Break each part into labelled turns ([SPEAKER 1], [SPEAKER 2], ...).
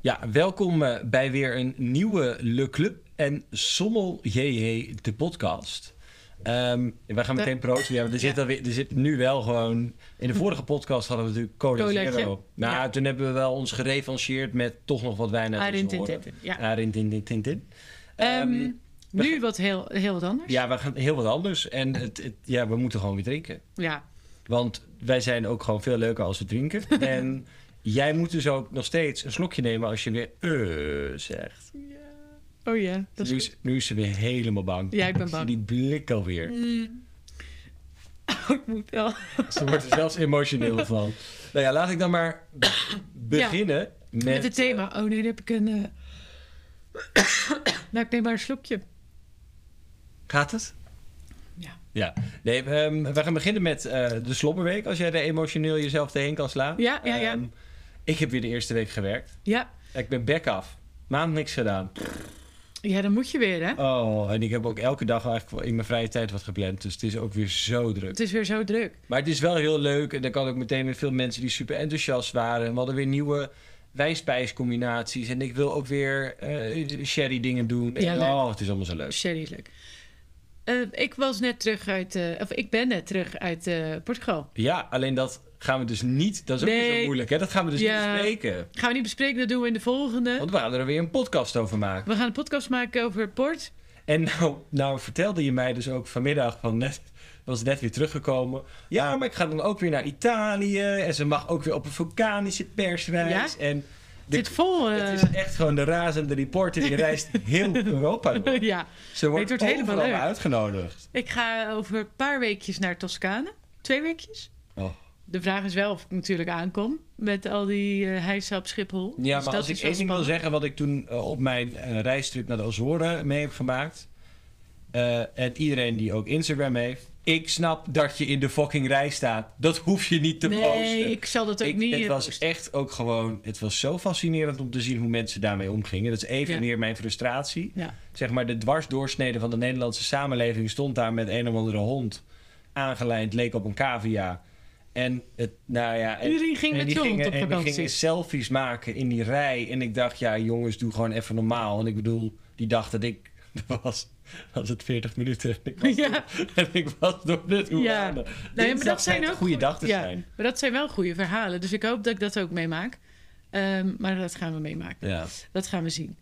[SPEAKER 1] Ja, welkom eh, bij weer een nieuwe Le Club en Sommel JJ, de podcast. Ehm we gaan meteen proosten. Ja, want er, zit alweer, er zit nu wel gewoon... In de vorige podcast hadden we natuurlijk Cola
[SPEAKER 2] Cola
[SPEAKER 1] Zero. Nou,
[SPEAKER 2] Ja. Ah,
[SPEAKER 1] toen hebben we wel ons gerevancheerd met toch nog wat wijn uit Ah, onze oren.
[SPEAKER 2] Arintintin. Ja.
[SPEAKER 1] Arintintintintin.
[SPEAKER 2] Ehm,
[SPEAKER 1] Ehm,
[SPEAKER 2] nu wat heel, heel wat anders.
[SPEAKER 1] ja, we gaan heel wat anders. En het, het- ja, we moeten gewoon weer drinken.
[SPEAKER 2] Ja.
[SPEAKER 1] Want wij zijn ook gewoon veel leuker als we drinken. en jij moet dus ook nog steeds een slokje nemen als je weer eh zegt.
[SPEAKER 2] Oh ja, dat is
[SPEAKER 1] nu,
[SPEAKER 2] goed.
[SPEAKER 1] is, nu is ze weer helemaal bang.
[SPEAKER 2] Ja, ik ben bang. Mm.
[SPEAKER 1] Zie die blik alweer.
[SPEAKER 2] Oh, Ik moet wel.
[SPEAKER 1] Ze wordt er zelfs emotioneel van. Nou ja, laat ik dan maar be- beginnen met...
[SPEAKER 2] Met het thema. Oh nee, dan heb ik een... eh, nou, ik neem maar een slokje.
[SPEAKER 1] Gaat het?
[SPEAKER 2] Ja.
[SPEAKER 1] Ja. Nee, ehm, we gaan beginnen met eh, de slobberweek. Als jij er emotioneel jezelf tegenheen kan slaan.
[SPEAKER 2] Ja, ja, ja.
[SPEAKER 1] Ehm, ik heb weer de eerste week gewerkt.
[SPEAKER 2] Ja.
[SPEAKER 1] Ik ben bek af. Maand niks gedaan.
[SPEAKER 2] ja, dan moet je weer, hè?
[SPEAKER 1] Oh, en ik heb ook elke dag eigenlijk wel in mijn vrije tijd wat gepland. Dus het is ook weer zo druk.
[SPEAKER 2] Het is weer zo druk.
[SPEAKER 1] Maar het is wel heel leuk. En dan kan ook meteen weer veel mensen die super enthousiast waren. En we hadden weer nieuwe wijnspijscombinaties. En ik wil ook weer eh, sherry dingen doen.
[SPEAKER 2] Ja,
[SPEAKER 1] En,
[SPEAKER 2] leuk.
[SPEAKER 1] oh, het is allemaal zo leuk.
[SPEAKER 2] Sherry is leuk. Eh, ik was net terug uit... eh, of ik ben net terug uit eh, Portugal.
[SPEAKER 1] Ja, alleen dat gaan we dus niet... Dat is ook
[SPEAKER 2] Nee.
[SPEAKER 1] weer zo moeilijk, hè? Dat gaan we dus
[SPEAKER 2] Ja.
[SPEAKER 1] niet bespreken.
[SPEAKER 2] Gaan we niet bespreken, dat doen we in de volgende.
[SPEAKER 1] Want we gaan er weer een podcast over maken.
[SPEAKER 2] We gaan een podcast maken over het port.
[SPEAKER 1] En nou, nou vertelde je mij dus ook vanmiddag van net... Was net weer teruggekomen. Ja, maar ik ga dan ook weer naar Italië. En ze mag ook weer op een vulkanische perswijs.
[SPEAKER 2] Ja?
[SPEAKER 1] En de
[SPEAKER 2] Dit vol... eh,
[SPEAKER 1] Het is echt gewoon de razende reporter die reist heel Europa door.
[SPEAKER 2] ja.
[SPEAKER 1] Ze wordt,
[SPEAKER 2] Het wordt helemaal
[SPEAKER 1] overal
[SPEAKER 2] leuk.
[SPEAKER 1] uitgenodigd.
[SPEAKER 2] Ik ga over een paar weekjes naar Toscane. Twee weekjes.
[SPEAKER 1] Oh.
[SPEAKER 2] De vraag is wel of ik natuurlijk aankom met al die eh heisa op Schiphol. Dus
[SPEAKER 1] Ja, maar
[SPEAKER 2] dat
[SPEAKER 1] als ik
[SPEAKER 2] is wel
[SPEAKER 1] één ding wil
[SPEAKER 2] spannend.
[SPEAKER 1] zeggen wat ik toen eh, op mijn eh, reistrip naar de Azoren mee heb gemaakt. eh, en iedereen die ook Instagram heeft. Ik snap dat je in de fucking rij staat. Dat hoef je niet te
[SPEAKER 2] Nee,
[SPEAKER 1] posten.
[SPEAKER 2] ik zal dat ook
[SPEAKER 1] Ik-
[SPEAKER 2] niet...
[SPEAKER 1] het
[SPEAKER 2] eh,
[SPEAKER 1] was echt ook gewoon... Het was zo fascinerend om te zien hoe mensen daarmee omgingen. Dat is even
[SPEAKER 2] Ja.
[SPEAKER 1] weer mijn frustratie.
[SPEAKER 2] Ja.
[SPEAKER 1] zeg maar de dwarsdoorsnede van de Nederlandse samenleving stond daar met een of andere hond aangelijnd, leek op een cavia. En het, nou ja, en,
[SPEAKER 2] Iedereen ging
[SPEAKER 1] en
[SPEAKER 2] met
[SPEAKER 1] die
[SPEAKER 2] je hond
[SPEAKER 1] gingen-
[SPEAKER 2] op
[SPEAKER 1] en die
[SPEAKER 2] vakantie.
[SPEAKER 1] gingen selfies maken in die rij. En ik dacht, ja jongens, doe gewoon even normaal. En ik bedoel, die dacht dat ik er was. Was het 40 minuten en ik was,
[SPEAKER 2] Ja.
[SPEAKER 1] en ik was door de
[SPEAKER 2] Ja.
[SPEAKER 1] douane.
[SPEAKER 2] Nee, maar
[SPEAKER 1] Dinsdag
[SPEAKER 2] dat zijn
[SPEAKER 1] schijnt
[SPEAKER 2] ook
[SPEAKER 1] een goede
[SPEAKER 2] goe-
[SPEAKER 1] dag te
[SPEAKER 2] ja,
[SPEAKER 1] zijn.
[SPEAKER 2] Maar dat zijn wel goede verhalen. Dus ik hoop dat ik dat ook meemaak. Ehm, maar dat gaan we meemaken.
[SPEAKER 1] Ja.
[SPEAKER 2] Dat gaan we zien.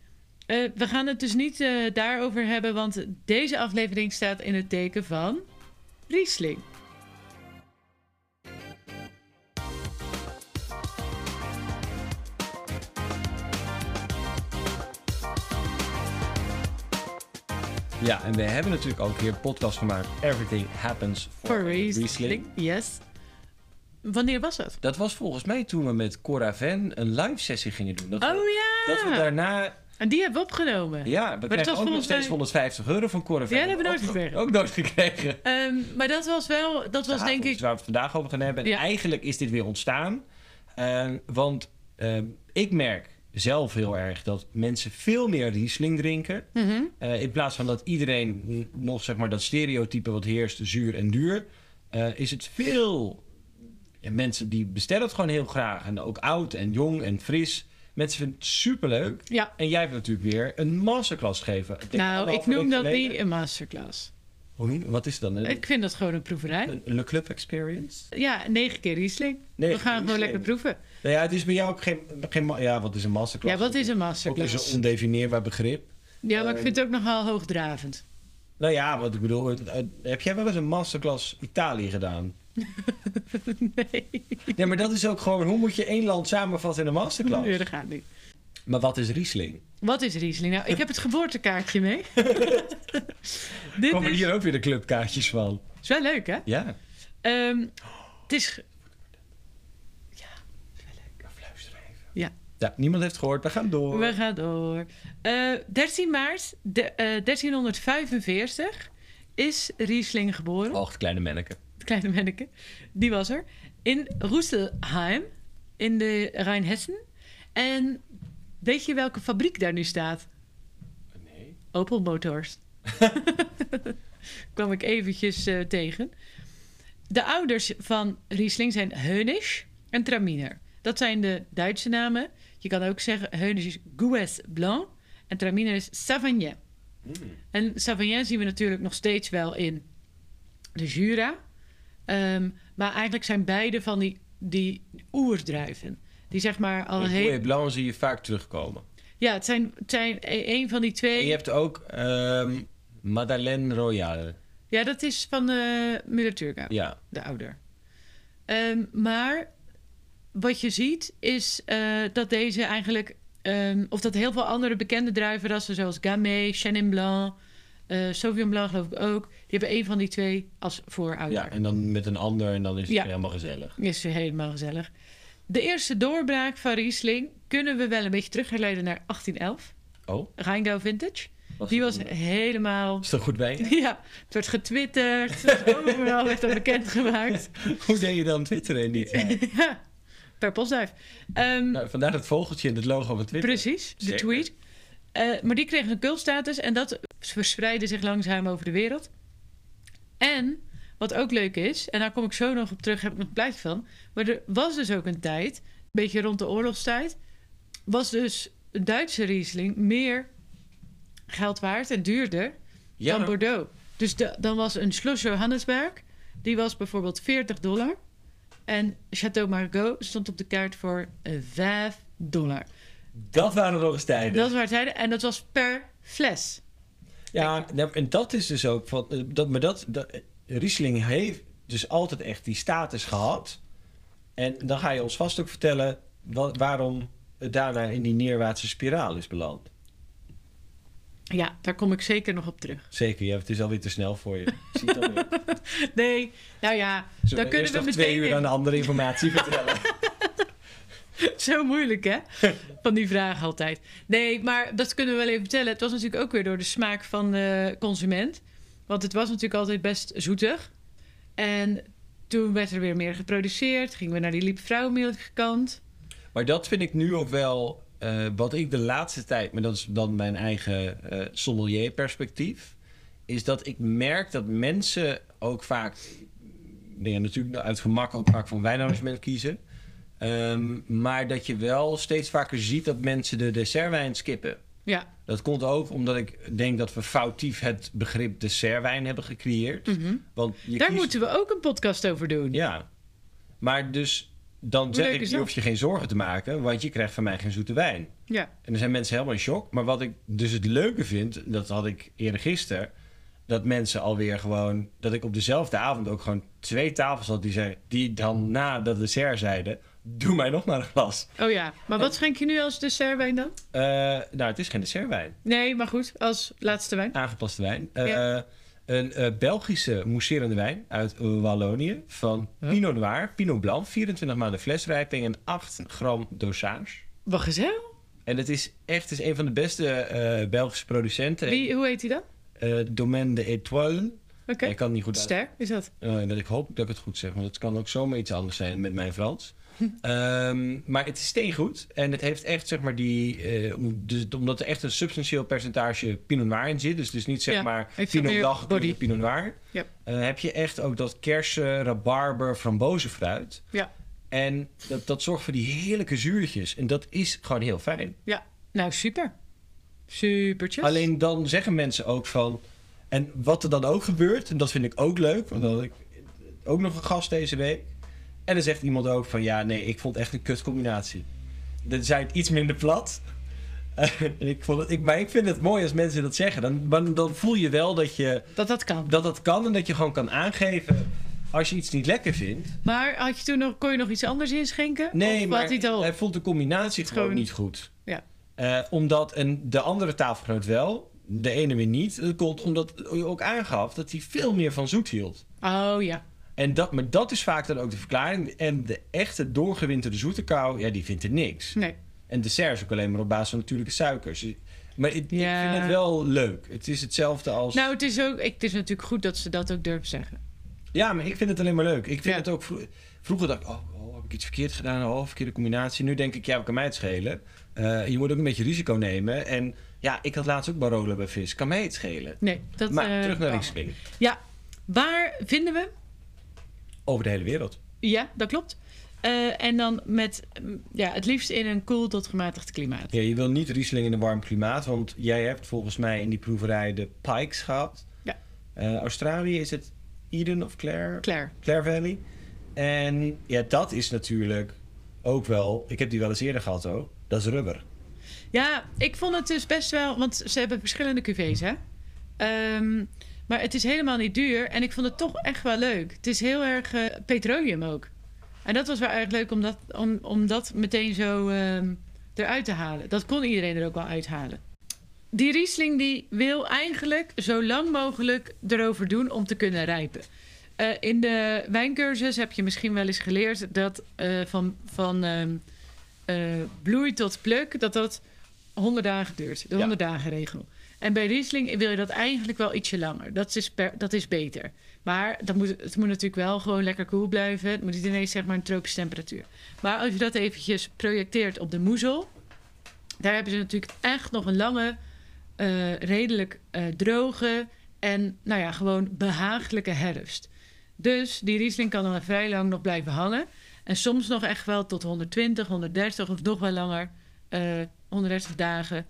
[SPEAKER 2] Eh, we gaan het dus niet eh, daarover hebben, want deze aflevering staat in het teken van Riesling.
[SPEAKER 1] ja, en we hebben natuurlijk ook weer een podcast gemaakt. Everything happens for,
[SPEAKER 2] Voor
[SPEAKER 1] a
[SPEAKER 2] Riesling. Yes. Wanneer was dat?
[SPEAKER 1] Dat was volgens mij toen we met Cora Van een live sessie gingen doen. Dat, we-
[SPEAKER 2] Oh ja!
[SPEAKER 1] dat we daarna.
[SPEAKER 2] En die hebben we opgenomen.
[SPEAKER 1] Ja, we
[SPEAKER 2] dat
[SPEAKER 1] kregen
[SPEAKER 2] was
[SPEAKER 1] ook nog
[SPEAKER 2] volgens mij-
[SPEAKER 1] steeds 150 euro van Cora Van.
[SPEAKER 2] Ja, dat hebben we nooit gekregen.
[SPEAKER 1] Ook nooit gekregen.
[SPEAKER 2] Ehm, maar dat was wel, dat was denk
[SPEAKER 1] Dus
[SPEAKER 2] ik.
[SPEAKER 1] waar we het vandaag over gaan hebben. En
[SPEAKER 2] Ja.
[SPEAKER 1] eigenlijk is dit weer ontstaan. Eh, want eh, ik merk zelf heel erg dat mensen veel meer Riesling drinken.
[SPEAKER 2] Mhm.
[SPEAKER 1] Eh, in plaats van dat iedereen n- nog zeg maar dat stereotype wat heerst, zuur en duur, eh, is het veel. En mensen die bestellen het gewoon heel graag. En ook oud en jong en fris. Mensen vinden het superleuk.
[SPEAKER 2] Ja.
[SPEAKER 1] En jij hebt natuurlijk weer een masterclass gegeven. Ik denk
[SPEAKER 2] Nou, ik
[SPEAKER 1] anderhalve
[SPEAKER 2] noem
[SPEAKER 1] week
[SPEAKER 2] dat
[SPEAKER 1] geleden.
[SPEAKER 2] niet een masterclass.
[SPEAKER 1] Hoe noem- Wat is het dan? Een,
[SPEAKER 2] Ik vind dat gewoon een proeverij.
[SPEAKER 1] een Le Club Experience?
[SPEAKER 2] Ja, negen keer Riesling.
[SPEAKER 1] Nee,
[SPEAKER 2] we gaan gewoon
[SPEAKER 1] Riesling.
[SPEAKER 2] lekker proeven.
[SPEAKER 1] Nou ja, het is bij jou ook geen... geen ma- ja, wat is een masterclass?
[SPEAKER 2] Ja, wat is een
[SPEAKER 1] Ook is
[SPEAKER 2] masterclass?
[SPEAKER 1] een Ehm, ondefinieerbaar begrip.
[SPEAKER 2] Ja, maar ik vind het ook nogal hoogdravend.
[SPEAKER 1] Nou ja, wat ik bedoel... het- het- heb jij wel eens een masterclass Italië gedaan?
[SPEAKER 2] Nee,
[SPEAKER 1] Nee, maar dat is ook gewoon... Hoe moet je één land samenvatten in een masterclass?
[SPEAKER 2] nee, dat gaat niet.
[SPEAKER 1] Maar wat is Riesling?
[SPEAKER 2] Wat is Riesling? Nou, ik heb het geboortekaartje mee. Dit
[SPEAKER 1] Komen
[SPEAKER 2] is,
[SPEAKER 1] hier ook weer de clubkaartjes van?
[SPEAKER 2] is wel leuk, hè?
[SPEAKER 1] Ja.
[SPEAKER 2] Ehm, het is
[SPEAKER 1] Fluister even.
[SPEAKER 2] Ja.
[SPEAKER 1] Ja, niemand heeft gehoord. We gaan door.
[SPEAKER 2] We gaan door. Eh, 13 maart de, eh, 1345 is Riesling geboren.
[SPEAKER 1] Och, het kleine manneke.
[SPEAKER 2] Het kleine manneke. Die was er. In Roestelheim. In de Rijnhessen. En weet je welke fabriek daar nu staat?
[SPEAKER 1] Nee.
[SPEAKER 2] Opel Motors. Kwam ik eventjes eh, tegen. De ouders van Riesling zijn Heunisch en Traminer. Dat zijn de Duitse namen. Je kan ook zeggen, Heuners is Goues Blanc en Traminer is Savagnin.
[SPEAKER 1] Hmm.
[SPEAKER 2] En Savagnin zien we natuurlijk nog steeds wel in de Jura. Ehm, maar eigenlijk zijn beide van die, die oerdruiven. Die zeg maar al
[SPEAKER 1] Al
[SPEAKER 2] heel...
[SPEAKER 1] Blanc zie je vaak terugkomen.
[SPEAKER 2] Ja, het zijn, het zijn e- een van die
[SPEAKER 1] En
[SPEAKER 2] twee.
[SPEAKER 1] je hebt ook ehm, Madeleine Royale.
[SPEAKER 2] Ja, dat is van eh Müller-Turga,
[SPEAKER 1] Ja.
[SPEAKER 2] de ouder. Ehm, maar wat je ziet is eh, dat deze eigenlijk... ehm, of dat heel veel andere bekende druivenrassen... zoals Gamay, Chenin Blanc, eh Sauvignon Blanc geloof ik ook... die hebben een van die twee als voorouder.
[SPEAKER 1] ja, en dan met een ander en dan is het
[SPEAKER 2] Oh, Ja.
[SPEAKER 1] helemaal gezellig.
[SPEAKER 2] Is helemaal gezellig. De eerste doorbraak van Riesling kunnen we wel een beetje terugherleiden naar 1811.
[SPEAKER 1] Oh,
[SPEAKER 2] Rheingau Vintage.
[SPEAKER 1] was
[SPEAKER 2] Die
[SPEAKER 1] er-
[SPEAKER 2] was helemaal...
[SPEAKER 1] Is dat goed bij je?
[SPEAKER 2] Ja, het werd getwitterd. het werd Overal werd dat bekendgemaakt.
[SPEAKER 1] Hoe deed je dan Twitter in die tijd?
[SPEAKER 2] ja, per postduif. Ehm,
[SPEAKER 1] Nou, vandaar dat vogeltje in het logo van Twitter.
[SPEAKER 2] precies, de
[SPEAKER 1] Zeker.
[SPEAKER 2] tweet. Eh, maar die kreeg een cultstatus en dat verspreidde zich langzaam over de wereld. En wat ook leuk is, en daar kom ik zo nog op terug, heb ik nog blijft van. Maar er was dus ook een tijd, een beetje rond de oorlogstijd, was dus een Duitse Riesling meer geld waard en duurder dan
[SPEAKER 1] Ja,
[SPEAKER 2] Bordeaux. Dus de- dan was een Schloss Johannesberg, die was bijvoorbeeld 40 dollar. En Chateau Margaux stond op de kaart voor eh, 5 dollar.
[SPEAKER 1] dat waren nog eens tijden.
[SPEAKER 2] Dat waren tijden en dat was per fles.
[SPEAKER 1] Ja, nou, en dat is dus ook van. eh, Dat, maar dat, dat, eh, Riesling heeft dus altijd echt die status gehad. En dan ga je ons vast ook vertellen wa- waarom het daarna in die neerwaartse spiraal is beland.
[SPEAKER 2] Ja, daar kom ik zeker nog op terug.
[SPEAKER 1] Zeker, ja, het is alweer te snel voor je. Ik zie het alweer.
[SPEAKER 2] Nee, nou ja,
[SPEAKER 1] Zullen
[SPEAKER 2] dan kunnen
[SPEAKER 1] eerst
[SPEAKER 2] we
[SPEAKER 1] nog
[SPEAKER 2] meteen...
[SPEAKER 1] twee uur
[SPEAKER 2] in-
[SPEAKER 1] aan andere informatie vertellen.
[SPEAKER 2] Zo moeilijk, hè? Van die vragen altijd. Nee, maar dat kunnen we wel even vertellen. Het was natuurlijk ook weer door de smaak van de consument. Want het was natuurlijk altijd best zoetig. En toen werd er weer meer geproduceerd. Gingen we naar die liepvrouwmilkkant.
[SPEAKER 1] Maar dat vind ik nu ook wel eh, wat ik de laatste tijd, maar dat is dan mijn eigen eh sommelier perspectief, is dat ik merk dat mensen ook vaak, nee, natuurlijk uit gemak ook vaak van wijnarrangement kiezen, Ehm, maar dat je wel steeds vaker ziet dat mensen de dessertwijn skippen.
[SPEAKER 2] Ja.
[SPEAKER 1] Dat komt ook omdat ik denk dat we foutief het begrip dessertwijn hebben gecreëerd. Want je
[SPEAKER 2] Mm. Daar
[SPEAKER 1] kiest-
[SPEAKER 2] moeten we ook een podcast over doen.
[SPEAKER 1] Mhm. ja. Maar dus dan zeg
[SPEAKER 2] leuk
[SPEAKER 1] ik,
[SPEAKER 2] is
[SPEAKER 1] je
[SPEAKER 2] dat?
[SPEAKER 1] hoeft je geen zorgen te maken, want je krijgt van mij geen zoete wijn.
[SPEAKER 2] Ja.
[SPEAKER 1] En dan zijn mensen helemaal in shock. Maar wat ik dus het leuke vind, dat had ik eerder gisteren, dat mensen alweer gewoon, dat ik op dezelfde avond ook gewoon twee tafels had die, zei, die dan na dat dessert zeiden, doe mij nog maar een glas.
[SPEAKER 2] Oh ja. Maar wat schenk je nu als dessertwijn dan?
[SPEAKER 1] Eh, nou, het is geen dessertwijn,
[SPEAKER 2] Nee, maar goed. Als laatste wijn.
[SPEAKER 1] aangepaste wijn. Eh,
[SPEAKER 2] Ja.
[SPEAKER 1] Een eh, Belgische mousserende wijn uit eh, Wallonië van
[SPEAKER 2] Huh?
[SPEAKER 1] Pinot Noir, Pinot Blanc, 24 maanden flesrijping en 8 gram dosage.
[SPEAKER 2] Wat gezellig.
[SPEAKER 1] En het is echt het is een van de beste eh, Belgische producenten.
[SPEAKER 2] Wie, hoe heet die dan?
[SPEAKER 1] Eh, Domaine de Étoile.
[SPEAKER 2] Oké.
[SPEAKER 1] Ik kan het niet goed uit-
[SPEAKER 2] Ster is dat.
[SPEAKER 1] Eh, dat ik hoop dat ik het goed zeg, want het kan ook zomaar iets anders zijn met mijn Frans. Ehm, maar het is steengoed en het heeft echt, zeg maar, die. eh, om- dus, omdat er echt een substantieel percentage Pinot Noir in zit, dus, dus niet zeg
[SPEAKER 2] Ja,
[SPEAKER 1] maar
[SPEAKER 2] heeft
[SPEAKER 1] Pinot
[SPEAKER 2] meer
[SPEAKER 1] Blanc,
[SPEAKER 2] body.
[SPEAKER 1] Pinot- Pinot Noir.
[SPEAKER 2] Ja.
[SPEAKER 1] Eh, heb je echt ook dat kersen, rabarber, frambozenfruit.
[SPEAKER 2] Ja.
[SPEAKER 1] En dat, dat zorgt voor die heerlijke zuurtjes. En dat is gewoon heel fijn.
[SPEAKER 2] Nou, super. Supertjes.
[SPEAKER 1] Alleen dan zeggen mensen ook van. En wat er dan ook gebeurt, en dat vind ik ook leuk, want dan had ik ook nog een gast deze week. En dan zegt iemand ook van ja, nee, ik vond het echt een kutcombinatie. Dan zijn het iets minder plat. en ik vond het, ik, maar ik vind het mooi als mensen dat zeggen. Dan, maar dan voel je wel dat, je,
[SPEAKER 2] Dat dat kan.
[SPEAKER 1] dat dat kan en dat je gewoon kan aangeven als je iets niet lekker vindt.
[SPEAKER 2] Maar had je toen nog, kon je nog iets anders inschenken?
[SPEAKER 1] Nee,
[SPEAKER 2] of
[SPEAKER 1] maar
[SPEAKER 2] had hij het al?
[SPEAKER 1] hij vond de combinatie gewoon,
[SPEAKER 2] Gewoon-
[SPEAKER 1] niet goed.
[SPEAKER 2] Ja.
[SPEAKER 1] Eh, omdat en de andere tafelgenoot wel, de ene weer niet. Dat komt omdat je ook aangaf dat hij veel meer van zoet hield.
[SPEAKER 2] Oh ja.
[SPEAKER 1] En dat, maar dat is vaak dan ook de verklaring. En de echte doorgewinterde zoete kou, ja, die vindt er niks.
[SPEAKER 2] Nee.
[SPEAKER 1] En dessert is ook alleen maar op basis van natuurlijke suikers. Dus, Maar ik, ik
[SPEAKER 2] Ja.
[SPEAKER 1] vind het wel leuk. Het is hetzelfde als...
[SPEAKER 2] Nou, het is, ook, ik- het is natuurlijk goed dat ze dat ook durven zeggen.
[SPEAKER 1] Ja, maar ik vind het alleen maar leuk. Ik vind
[SPEAKER 2] Ja.
[SPEAKER 1] het ook... vro- vroeger dacht ik, oh, oh, heb ik iets verkeerd gedaan? Oh, verkeerde combinatie. Nu denk ik, ja, wat kan mij het schelen? Eh, je moet ook een beetje risico nemen. En ja, ik had laatst ook barolen bij vis. Kan mij het schelen?
[SPEAKER 2] Nee, dat...
[SPEAKER 1] maar
[SPEAKER 2] eh,
[SPEAKER 1] terug naar
[SPEAKER 2] kan.
[SPEAKER 1] Riesling.
[SPEAKER 2] Ja. Waar vinden we? hem?
[SPEAKER 1] Over de hele wereld.
[SPEAKER 2] Ja, dat klopt. Eh, en dan met, mm, ja, het liefst in een koel tot gematigd klimaat.
[SPEAKER 1] Ja, je wil niet Riesling in een warm klimaat, want jij hebt volgens mij in die proeverij de Pikes gehad.
[SPEAKER 2] Ja.
[SPEAKER 1] Eh, Australië is het Eden of Clare?
[SPEAKER 2] Claire.
[SPEAKER 1] Clare Valley. En ja, dat is natuurlijk ook wel, ik heb die wel eens eerder gehad ook, dat is rubber.
[SPEAKER 2] Ja, ik vond het dus best wel, want ze hebben verschillende cuvées, hè? Ehm, maar het is helemaal niet duur en ik vond het toch echt wel leuk. Het is heel erg eh, petroleum ook. En dat was wel erg leuk om dat, om, om dat meteen zo ehm, eruit te halen. Dat kon iedereen er ook wel uithalen. Die Riesling die wil eigenlijk zo lang mogelijk erover doen om te kunnen rijpen. Eh, in de wijncursus heb je misschien wel eens geleerd dat eh, van, van ehm, eh, bloei tot pluk, dat dat 100 dagen duurt. De
[SPEAKER 1] Ja.
[SPEAKER 2] 100 dagen regel. En bij Riesling wil je dat eigenlijk wel ietsje langer. Dat is, per- dat is beter. Maar dat moet, het moet natuurlijk wel gewoon lekker koel blijven. Het moet niet ineens zeg maar een tropische temperatuur. Maar als je dat eventjes projecteert op de moezel... daar hebben ze natuurlijk echt nog een lange, eh, redelijk eh, droge... en nou ja, gewoon behagelijke herfst. Dus die Riesling kan dan vrij lang nog blijven hangen. En soms nog echt wel tot 120, 130 of nog wel langer. eh 130 dagen.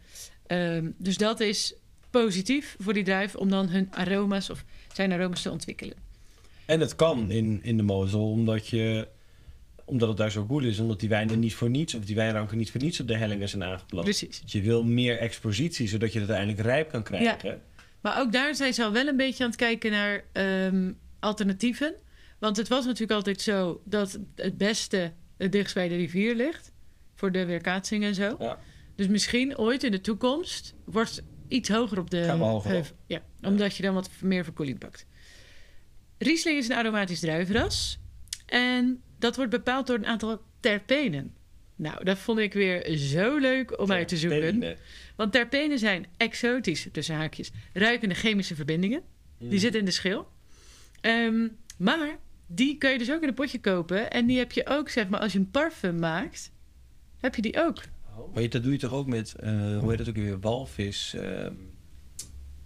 [SPEAKER 2] Ehm, dus dat is positief voor die druif om dan hun aroma's of zijn aroma's te ontwikkelen.
[SPEAKER 1] En het kan in, in de Mosel, omdat, je, omdat het daar zo koel is. Omdat die wijnen niet voor niets, of die wijnranken niet voor niets op de hellingen zijn aangeplant.
[SPEAKER 2] Precies.
[SPEAKER 1] Je wil meer expositie, zodat je het uiteindelijk rijp kan krijgen.
[SPEAKER 2] Maar ook daar zijn ze al wel een beetje aan het kijken naar ehm, alternatieven. Want het was natuurlijk altijd zo dat het beste het dichtst bij de rivier ligt. Voor de weerkaatsing en zo.
[SPEAKER 1] Ja.
[SPEAKER 2] Dus misschien ooit in de toekomst wordt iets hoger op de
[SPEAKER 1] Gaan we hoger op.
[SPEAKER 2] heuvel. Ja, omdat je dan wat meer verkoeling pakt. Riesling is een aromatisch druivenras. En dat wordt bepaald door een aantal terpenen. Nou, dat vond ik weer zo leuk om uit te zoeken.
[SPEAKER 1] Terpenen.
[SPEAKER 2] Want terpenen zijn exotisch, tussen haakjes, ruikende chemische verbindingen.
[SPEAKER 1] Mm. Mm-hmm.
[SPEAKER 2] Die zitten in de schil. Ehm, maar die kun je dus ook in een potje kopen. En die heb je ook, zeg maar, als je een parfum maakt, heb je die ook.
[SPEAKER 1] Maar je- dat doe je toch ook met, eh, hoe heet dat ook weer, walvis. eh,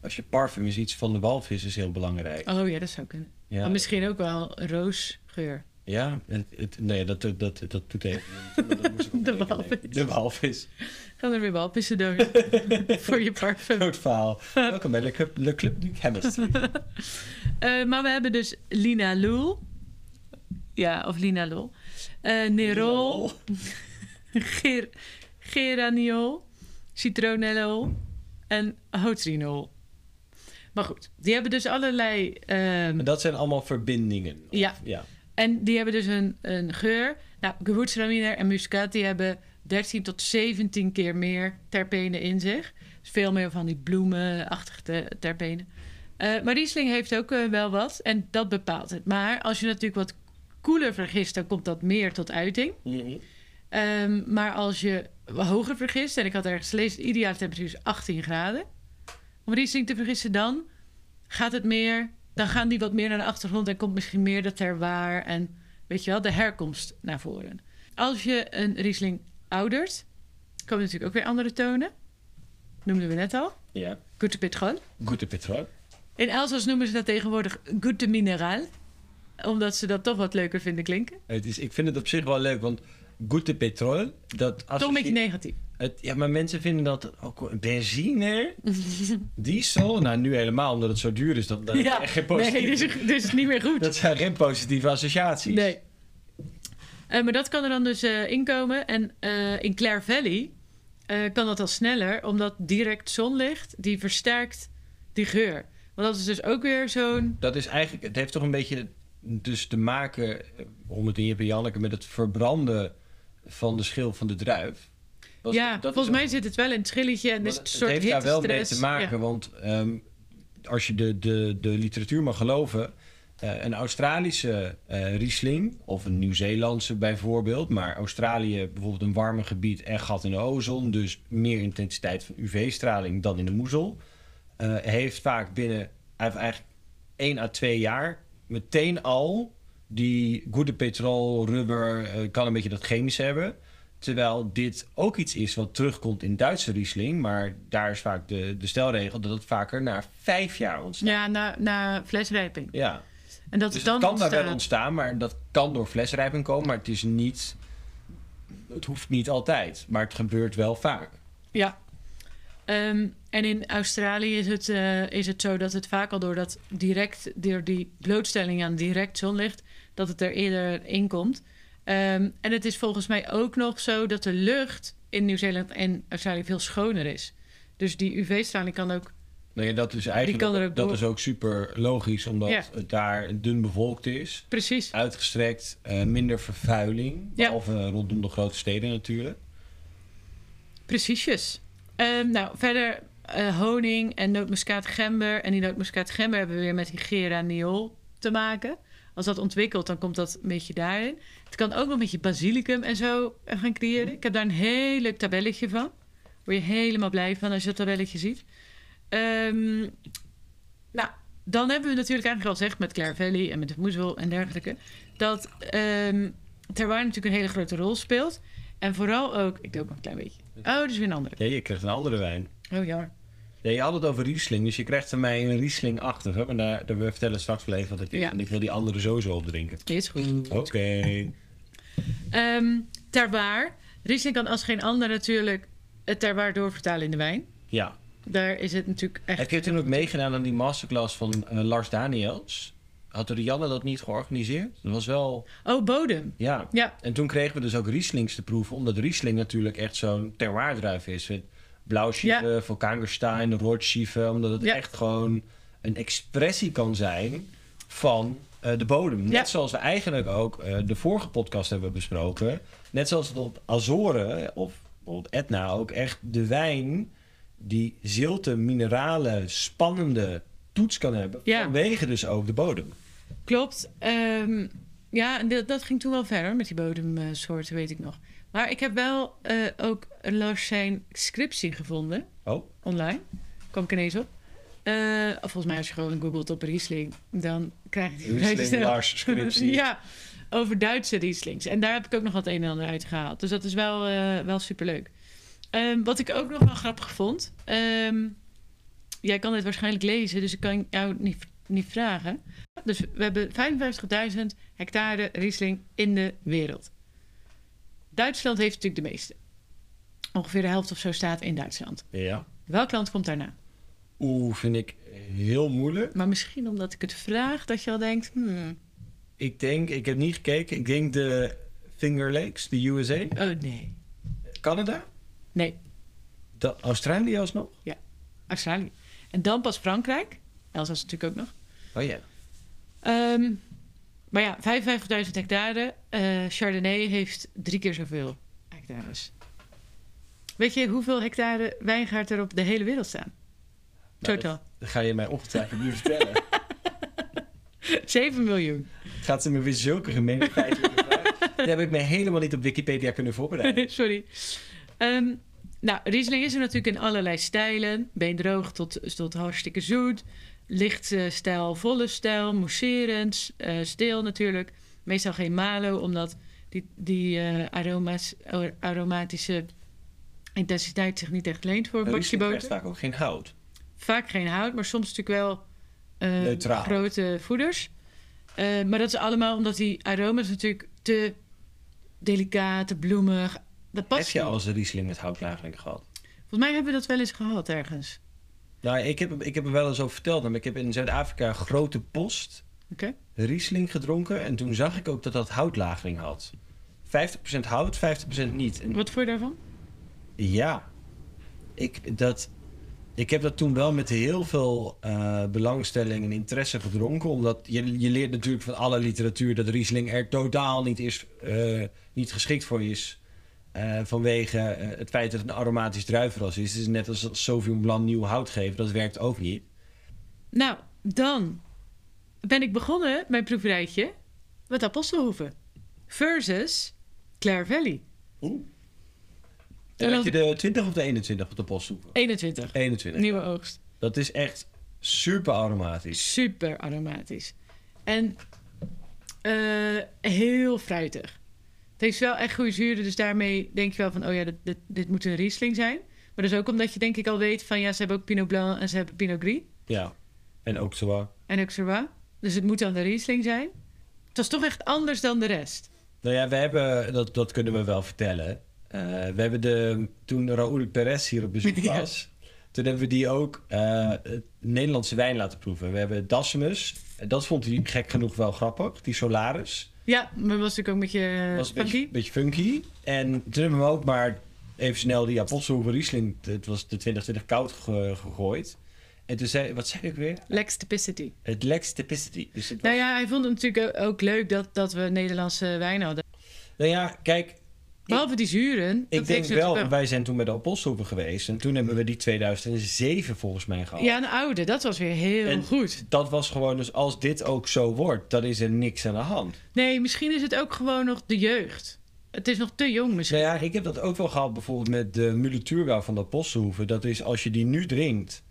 [SPEAKER 1] als je parfum is, iets van de walvis is heel belangrijk.
[SPEAKER 2] Oh ja, dat zou kunnen.
[SPEAKER 1] Ja,
[SPEAKER 2] Maar misschien ook wel een roosgeur.
[SPEAKER 1] ja het, het- nee, dat, dat, dat, dat doet even. dat moest ik ook
[SPEAKER 2] De
[SPEAKER 1] even-
[SPEAKER 2] walvis.
[SPEAKER 1] De walvis.
[SPEAKER 2] Gaan er weer walvissen door voor je parfum.
[SPEAKER 1] Groot verhaal. Welkom bij Le Club, Le Club du Chemistry.
[SPEAKER 2] Eh, maar we hebben dus Lina Loel. Ja, of Lina Lol. Eh Nerol. Ger geraniol. Citronellol. En hotrinol. Maar goed, die hebben dus allerlei... ehm,
[SPEAKER 1] En dat zijn allemaal verbindingen. Of-
[SPEAKER 2] Ja.
[SPEAKER 1] ja.
[SPEAKER 2] en die hebben dus een, een geur. Nou, Gewürztraminer en Muscat die hebben 13 tot 17 keer meer terpenen in zich. Dus veel meer van die bloemenachtige te- terpenen. Eh, maar Riesling heeft ook eh, wel wat en dat bepaalt het. Maar als je natuurlijk wat koeler vergist, dan komt dat meer tot uiting. Ehm, maar als je hoger vergist, en ik had ergens gelezen, de ideale temperatuur is 18 graden. Om Riesling te vergissen dan, gaat het meer, dan gaan die wat meer naar de achtergrond en komt misschien meer dat terwaar en weet je wel, de herkomst naar voren. Als je een Riesling oudert, komen natuurlijk ook weer andere tonen. Noemden we net al.
[SPEAKER 1] ja.
[SPEAKER 2] Gute Petrol.
[SPEAKER 1] Goede petrol.
[SPEAKER 2] In Elsass noemen ze dat tegenwoordig Gute Mineral. Omdat ze dat toch wat leuker vinden klinken.
[SPEAKER 1] Het is, ik vind het op zich wel leuk, want goede petrol, dat
[SPEAKER 2] Toch een beetje
[SPEAKER 1] associe-
[SPEAKER 2] negatief.
[SPEAKER 1] het, Ja, maar mensen vinden dat ook benzine, diesel. Nou, nu helemaal, omdat het zo duur is, dat, dat is echt geen positieve.
[SPEAKER 2] nee, dus, dus niet meer goed.
[SPEAKER 1] Dat zijn geen positieve associaties.
[SPEAKER 2] Nee. Eh, maar dat kan er dan dus eh inkomen. En eh, in Clare Valley eh, kan dat al sneller, omdat direct zonlicht die versterkt die geur. Want dat is dus ook weer zo'n.
[SPEAKER 1] Dat is eigenlijk, het heeft toch een beetje dus te maken, eh, om het in Jip en Janneke, met het verbranden van de schil van de druif. Was-
[SPEAKER 2] ja,
[SPEAKER 1] dat is
[SPEAKER 2] volgens
[SPEAKER 1] ook-
[SPEAKER 2] mij zit het wel in het schilletje en
[SPEAKER 1] Maar
[SPEAKER 2] is
[SPEAKER 1] het
[SPEAKER 2] het een dus soort
[SPEAKER 1] heeft daar wel mee
[SPEAKER 2] hittestress.
[SPEAKER 1] te maken,
[SPEAKER 2] Ja.
[SPEAKER 1] want ehm, als je de, de, de literatuur mag geloven, eh, een Australische eh, Riesling, of een Nieuw-Zeelandse bijvoorbeeld, maar Australië bijvoorbeeld een warmer gebied en gat in de ozon, dus meer intensiteit van UV-straling dan in de moezel, eh, heeft vaak binnen hij heeft eigenlijk 1 à 2 jaar meteen al die goede petrol, rubber, eh, kan een beetje dat chemisch hebben. Terwijl dit ook iets is wat terugkomt in Duitse Riesling. Maar daar is vaak de, de stelregel dat het vaker na vijf jaar ontstaat.
[SPEAKER 2] Ja, na, na flesrijping.
[SPEAKER 1] Ja.
[SPEAKER 2] En dat
[SPEAKER 1] Dus
[SPEAKER 2] het
[SPEAKER 1] het kan
[SPEAKER 2] dan
[SPEAKER 1] daar wel
[SPEAKER 2] ontstaat.
[SPEAKER 1] ontstaan, maar dat kan door flesrijping komen. Maar het is niet... Het hoeft niet altijd, maar het gebeurt wel vaak.
[SPEAKER 2] Ja. Ehm, en in Australië is het, eh, is het zo dat het vaak al doordat direct, door die blootstelling aan direct zonlicht, dat het er eerder in komt. Ehm, en het is volgens mij ook nog zo dat de lucht in Nieuw-Zeeland en Australië veel schoner is. Dus die UV-straling kan ook.
[SPEAKER 1] Nee, Nou dat is eigenlijk
[SPEAKER 2] kan er ook
[SPEAKER 1] dat
[SPEAKER 2] door.
[SPEAKER 1] is ook super logisch, omdat
[SPEAKER 2] Ja.
[SPEAKER 1] het daar dun bevolkt is.
[SPEAKER 2] Precies.
[SPEAKER 1] Uitgestrekt, eh, minder vervuiling.
[SPEAKER 2] Ja.
[SPEAKER 1] Behalve rondom de grote steden natuurlijk.
[SPEAKER 2] Preciesjes. Ehm, nou, verder eh, honing en nootmuskaat gember. En die nootmuskaat gember hebben we weer met hygera niol te maken. Als dat ontwikkelt, dan komt dat een beetje daarin. Het kan ook nog een beetje basilicum en zo eh, gaan creëren. Ik heb daar een heel leuk tabelletje van. Word je helemaal blij van als je dat tabelletje ziet. Ehm, nou, dan hebben we natuurlijk eigenlijk al gezegd met Claire Valley en met de moezel en dergelijke... dat ehm terroir natuurlijk een hele grote rol speelt. En vooral ook... Ik doe ook nog een klein beetje. Oh, dat is weer een andere.
[SPEAKER 1] Nee, je krijgt een andere wijn.
[SPEAKER 2] Oh, jammer.
[SPEAKER 1] Ja, je had het over Riesling, dus je krijgt van mij een Riesling-achtig. hè, Maar daar, daar we vertellen straks wel even wat het is.
[SPEAKER 2] Ja.
[SPEAKER 1] En ik wil die andere sowieso opdrinken.
[SPEAKER 2] Nee, is goed.
[SPEAKER 1] Oké.
[SPEAKER 2] Ehm terroir. Riesling kan als geen ander natuurlijk het terroir doorvertalen in de wijn.
[SPEAKER 1] Ja.
[SPEAKER 2] Daar is het natuurlijk echt...
[SPEAKER 1] Heb je toen ook meegedaan aan die masterclass van eh, Lars Daniels? Had Rianne dat niet georganiseerd? Dat was wel,
[SPEAKER 2] Oh, bodem.
[SPEAKER 1] ja.
[SPEAKER 2] Ja,
[SPEAKER 1] En toen kregen we dus ook Rieslings te proeven, omdat Riesling natuurlijk echt zo'n terroirdruif is. Met Blauwschieven, Vulkaangerstein, Roodschieven, omdat het
[SPEAKER 2] Ja.
[SPEAKER 1] echt gewoon een expressie kan zijn van eh, de bodem. Net
[SPEAKER 2] Ja.
[SPEAKER 1] zoals we eigenlijk ook eh, de vorige podcast hebben besproken. Net zoals het op Azoren of bijvoorbeeld Etna ook echt de wijn die zilte, minerale, spannende toets kan hebben.
[SPEAKER 2] Ja.
[SPEAKER 1] Vanwege dus ook de bodem.
[SPEAKER 2] Klopt. Ehm, ja, en dat, dat ging toen wel verder met die bodemsoorten, weet ik nog. Maar ik heb wel eh, ook een Lars zijn scriptie gevonden
[SPEAKER 1] Oh,
[SPEAKER 2] online. Kwam ik ineens op. Eh, of volgens mij als je gewoon googelt op Riesling, dan krijg je die vrij
[SPEAKER 1] Riesling,
[SPEAKER 2] snel.
[SPEAKER 1] Lars, scriptie.
[SPEAKER 2] ja, over Duitse Rieslings. En daar heb ik ook nog wat een en ander uit gehaald. Dus dat is wel, eh, wel superleuk. Ehm, wat ik ook nog wel grappig vond. ehm, jij kan dit waarschijnlijk lezen, dus ik kan jou niet, niet vragen. Dus we hebben 55.000 hectare Riesling in de wereld. Duitsland heeft natuurlijk de meeste. Ongeveer de helft of zo staat in Duitsland.
[SPEAKER 1] ja.
[SPEAKER 2] Welk land komt daarna?
[SPEAKER 1] Oeh, vind ik heel moeilijk.
[SPEAKER 2] Maar misschien omdat ik het vraag, dat je al denkt... hmm,
[SPEAKER 1] Ik denk, ik heb niet gekeken. Ik denk de Finger Lakes, de USA.
[SPEAKER 2] oh nee.
[SPEAKER 1] Canada?
[SPEAKER 2] Nee,
[SPEAKER 1] Da- Australië alsnog?
[SPEAKER 2] Australië. En dan pas Frankrijk. Elsass natuurlijk ook nog.
[SPEAKER 1] Oh ja.
[SPEAKER 2] Ehm, maar ja, 55.000 hectare. Eh, Chardonnay heeft drie keer zoveel hectares. Weet je hoeveel hectare wijngaard er op de hele wereld staan?
[SPEAKER 1] Nou,
[SPEAKER 2] Totaal.
[SPEAKER 1] Dat ga je mij ongetwijfeld nu vertellen.
[SPEAKER 2] 7 miljoen.
[SPEAKER 1] Gaat ze me weer zulke gemene feiten vragen? Daar heb ik me helemaal niet op Wikipedia kunnen voorbereiden.
[SPEAKER 2] Sorry. Ehm, nou, Riesling is er natuurlijk in allerlei stijlen. Beendroog tot, tot hartstikke zoet. Licht eh, stijl, volle stijl, mousserend, eh, stil natuurlijk. Meestal geen malo, omdat die, die eh, aroma's, aromatische intensiteit zich niet echt leent voor een bakje
[SPEAKER 1] Riesling krijgt
[SPEAKER 2] boter.
[SPEAKER 1] vaak ook geen hout.
[SPEAKER 2] Vaak geen hout, maar soms natuurlijk wel eh,
[SPEAKER 1] Neutraal.
[SPEAKER 2] grote voeders. Eh, maar dat is allemaal omdat die aroma's natuurlijk te delicaat, te bloemig. Dat past
[SPEAKER 1] Heb je
[SPEAKER 2] niet.
[SPEAKER 1] al eens een Riesling met hout eigenlijk gehad?
[SPEAKER 2] Volgens mij hebben we dat wel eens gehad ergens.
[SPEAKER 1] Nou, ik heb, ik heb er wel eens over verteld. Maar ik heb in Zuid-Afrika grote post
[SPEAKER 2] Oké.
[SPEAKER 1] Riesling gedronken. En toen zag ik ook dat dat houtlagering had. 50% hout, 50% niet. En
[SPEAKER 2] Wat vond je daarvan?
[SPEAKER 1] Ja, ik, dat, ik heb dat toen wel met heel veel eh, belangstelling en interesse gedronken. Omdat je, je leert natuurlijk van alle literatuur dat Riesling er totaal niet, is, eh, niet geschikt voor is. eh, vanwege eh, het feit dat het een aromatisch druivenras is. Het is net als als Sauvignon Blanc nieuw hout geven. Dat werkt ook niet.
[SPEAKER 2] Nou, dan ben ik begonnen mijn proeverijtje met Apostelhoeven. Versus Clare Valley.
[SPEAKER 1] Oeh.
[SPEAKER 2] En
[SPEAKER 1] En had
[SPEAKER 2] dan-
[SPEAKER 1] je de 20 of de 21 op de post zoeken?
[SPEAKER 2] 21.
[SPEAKER 1] 21.
[SPEAKER 2] Nieuwe oogst.
[SPEAKER 1] Dat is echt super aromatisch.
[SPEAKER 2] Super aromatisch. En eh, heel fruitig. Het heeft wel echt goede zuren, dus daarmee denk je wel van... oh ja, dit, dit, dit moet een Riesling zijn. Maar dat is ook omdat je denk ik al weet van... ja, ze hebben ook Pinot Blanc en ze hebben Pinot Gris.
[SPEAKER 1] Ja. En ook zo.
[SPEAKER 2] En Auxerrois. Dus het moet dan de Riesling zijn. Het was toch echt anders dan de rest.
[SPEAKER 1] Nou ja, we hebben, dat, dat kunnen we wel vertellen. Eh, we hebben de, toen Raoul Perez hier op bezoek
[SPEAKER 2] Ja.
[SPEAKER 1] was, toen hebben we die ook eh, het Nederlandse wijn laten proeven. We hebben Dassemus, En dat vond hij gek genoeg wel grappig, die Solaris.
[SPEAKER 2] Ja, maar was natuurlijk ook met je
[SPEAKER 1] was een beetje,
[SPEAKER 2] Eh, funky.
[SPEAKER 1] beetje funky. En toen hebben we hem ook maar even snel die Apelsenhoeven Riesling, het was de 2020 koud ge- gegooid. En toen zei, wat zei ik weer?
[SPEAKER 2] Lex Typicity.
[SPEAKER 1] Het Lex Typicity. Dus het was-
[SPEAKER 2] Nou ja, hij vond het natuurlijk o- ook leuk dat, dat we Nederlandse wijn hadden.
[SPEAKER 1] nou ja, kijk,
[SPEAKER 2] Behalve die zuren.
[SPEAKER 1] Ik
[SPEAKER 2] dat
[SPEAKER 1] denk
[SPEAKER 2] heeft natuurlijk
[SPEAKER 1] wel, wij zijn toen bij de Apostolpen geweest. En toen hebben we die 2007 volgens mij gehad.
[SPEAKER 2] Ja, een oude. Dat was weer heel
[SPEAKER 1] En-
[SPEAKER 2] goed.
[SPEAKER 1] Dat was gewoon dus, als dit ook zo wordt, dan is er niks aan de hand.
[SPEAKER 2] Nee, misschien is het ook gewoon nog de jeugd. Het is nog te jong misschien.
[SPEAKER 1] Nou ja, ik heb dat ook wel gehad bijvoorbeeld met de Mulituurgauw van de Apostolhoeven. Dat is, als je die nu drinkt,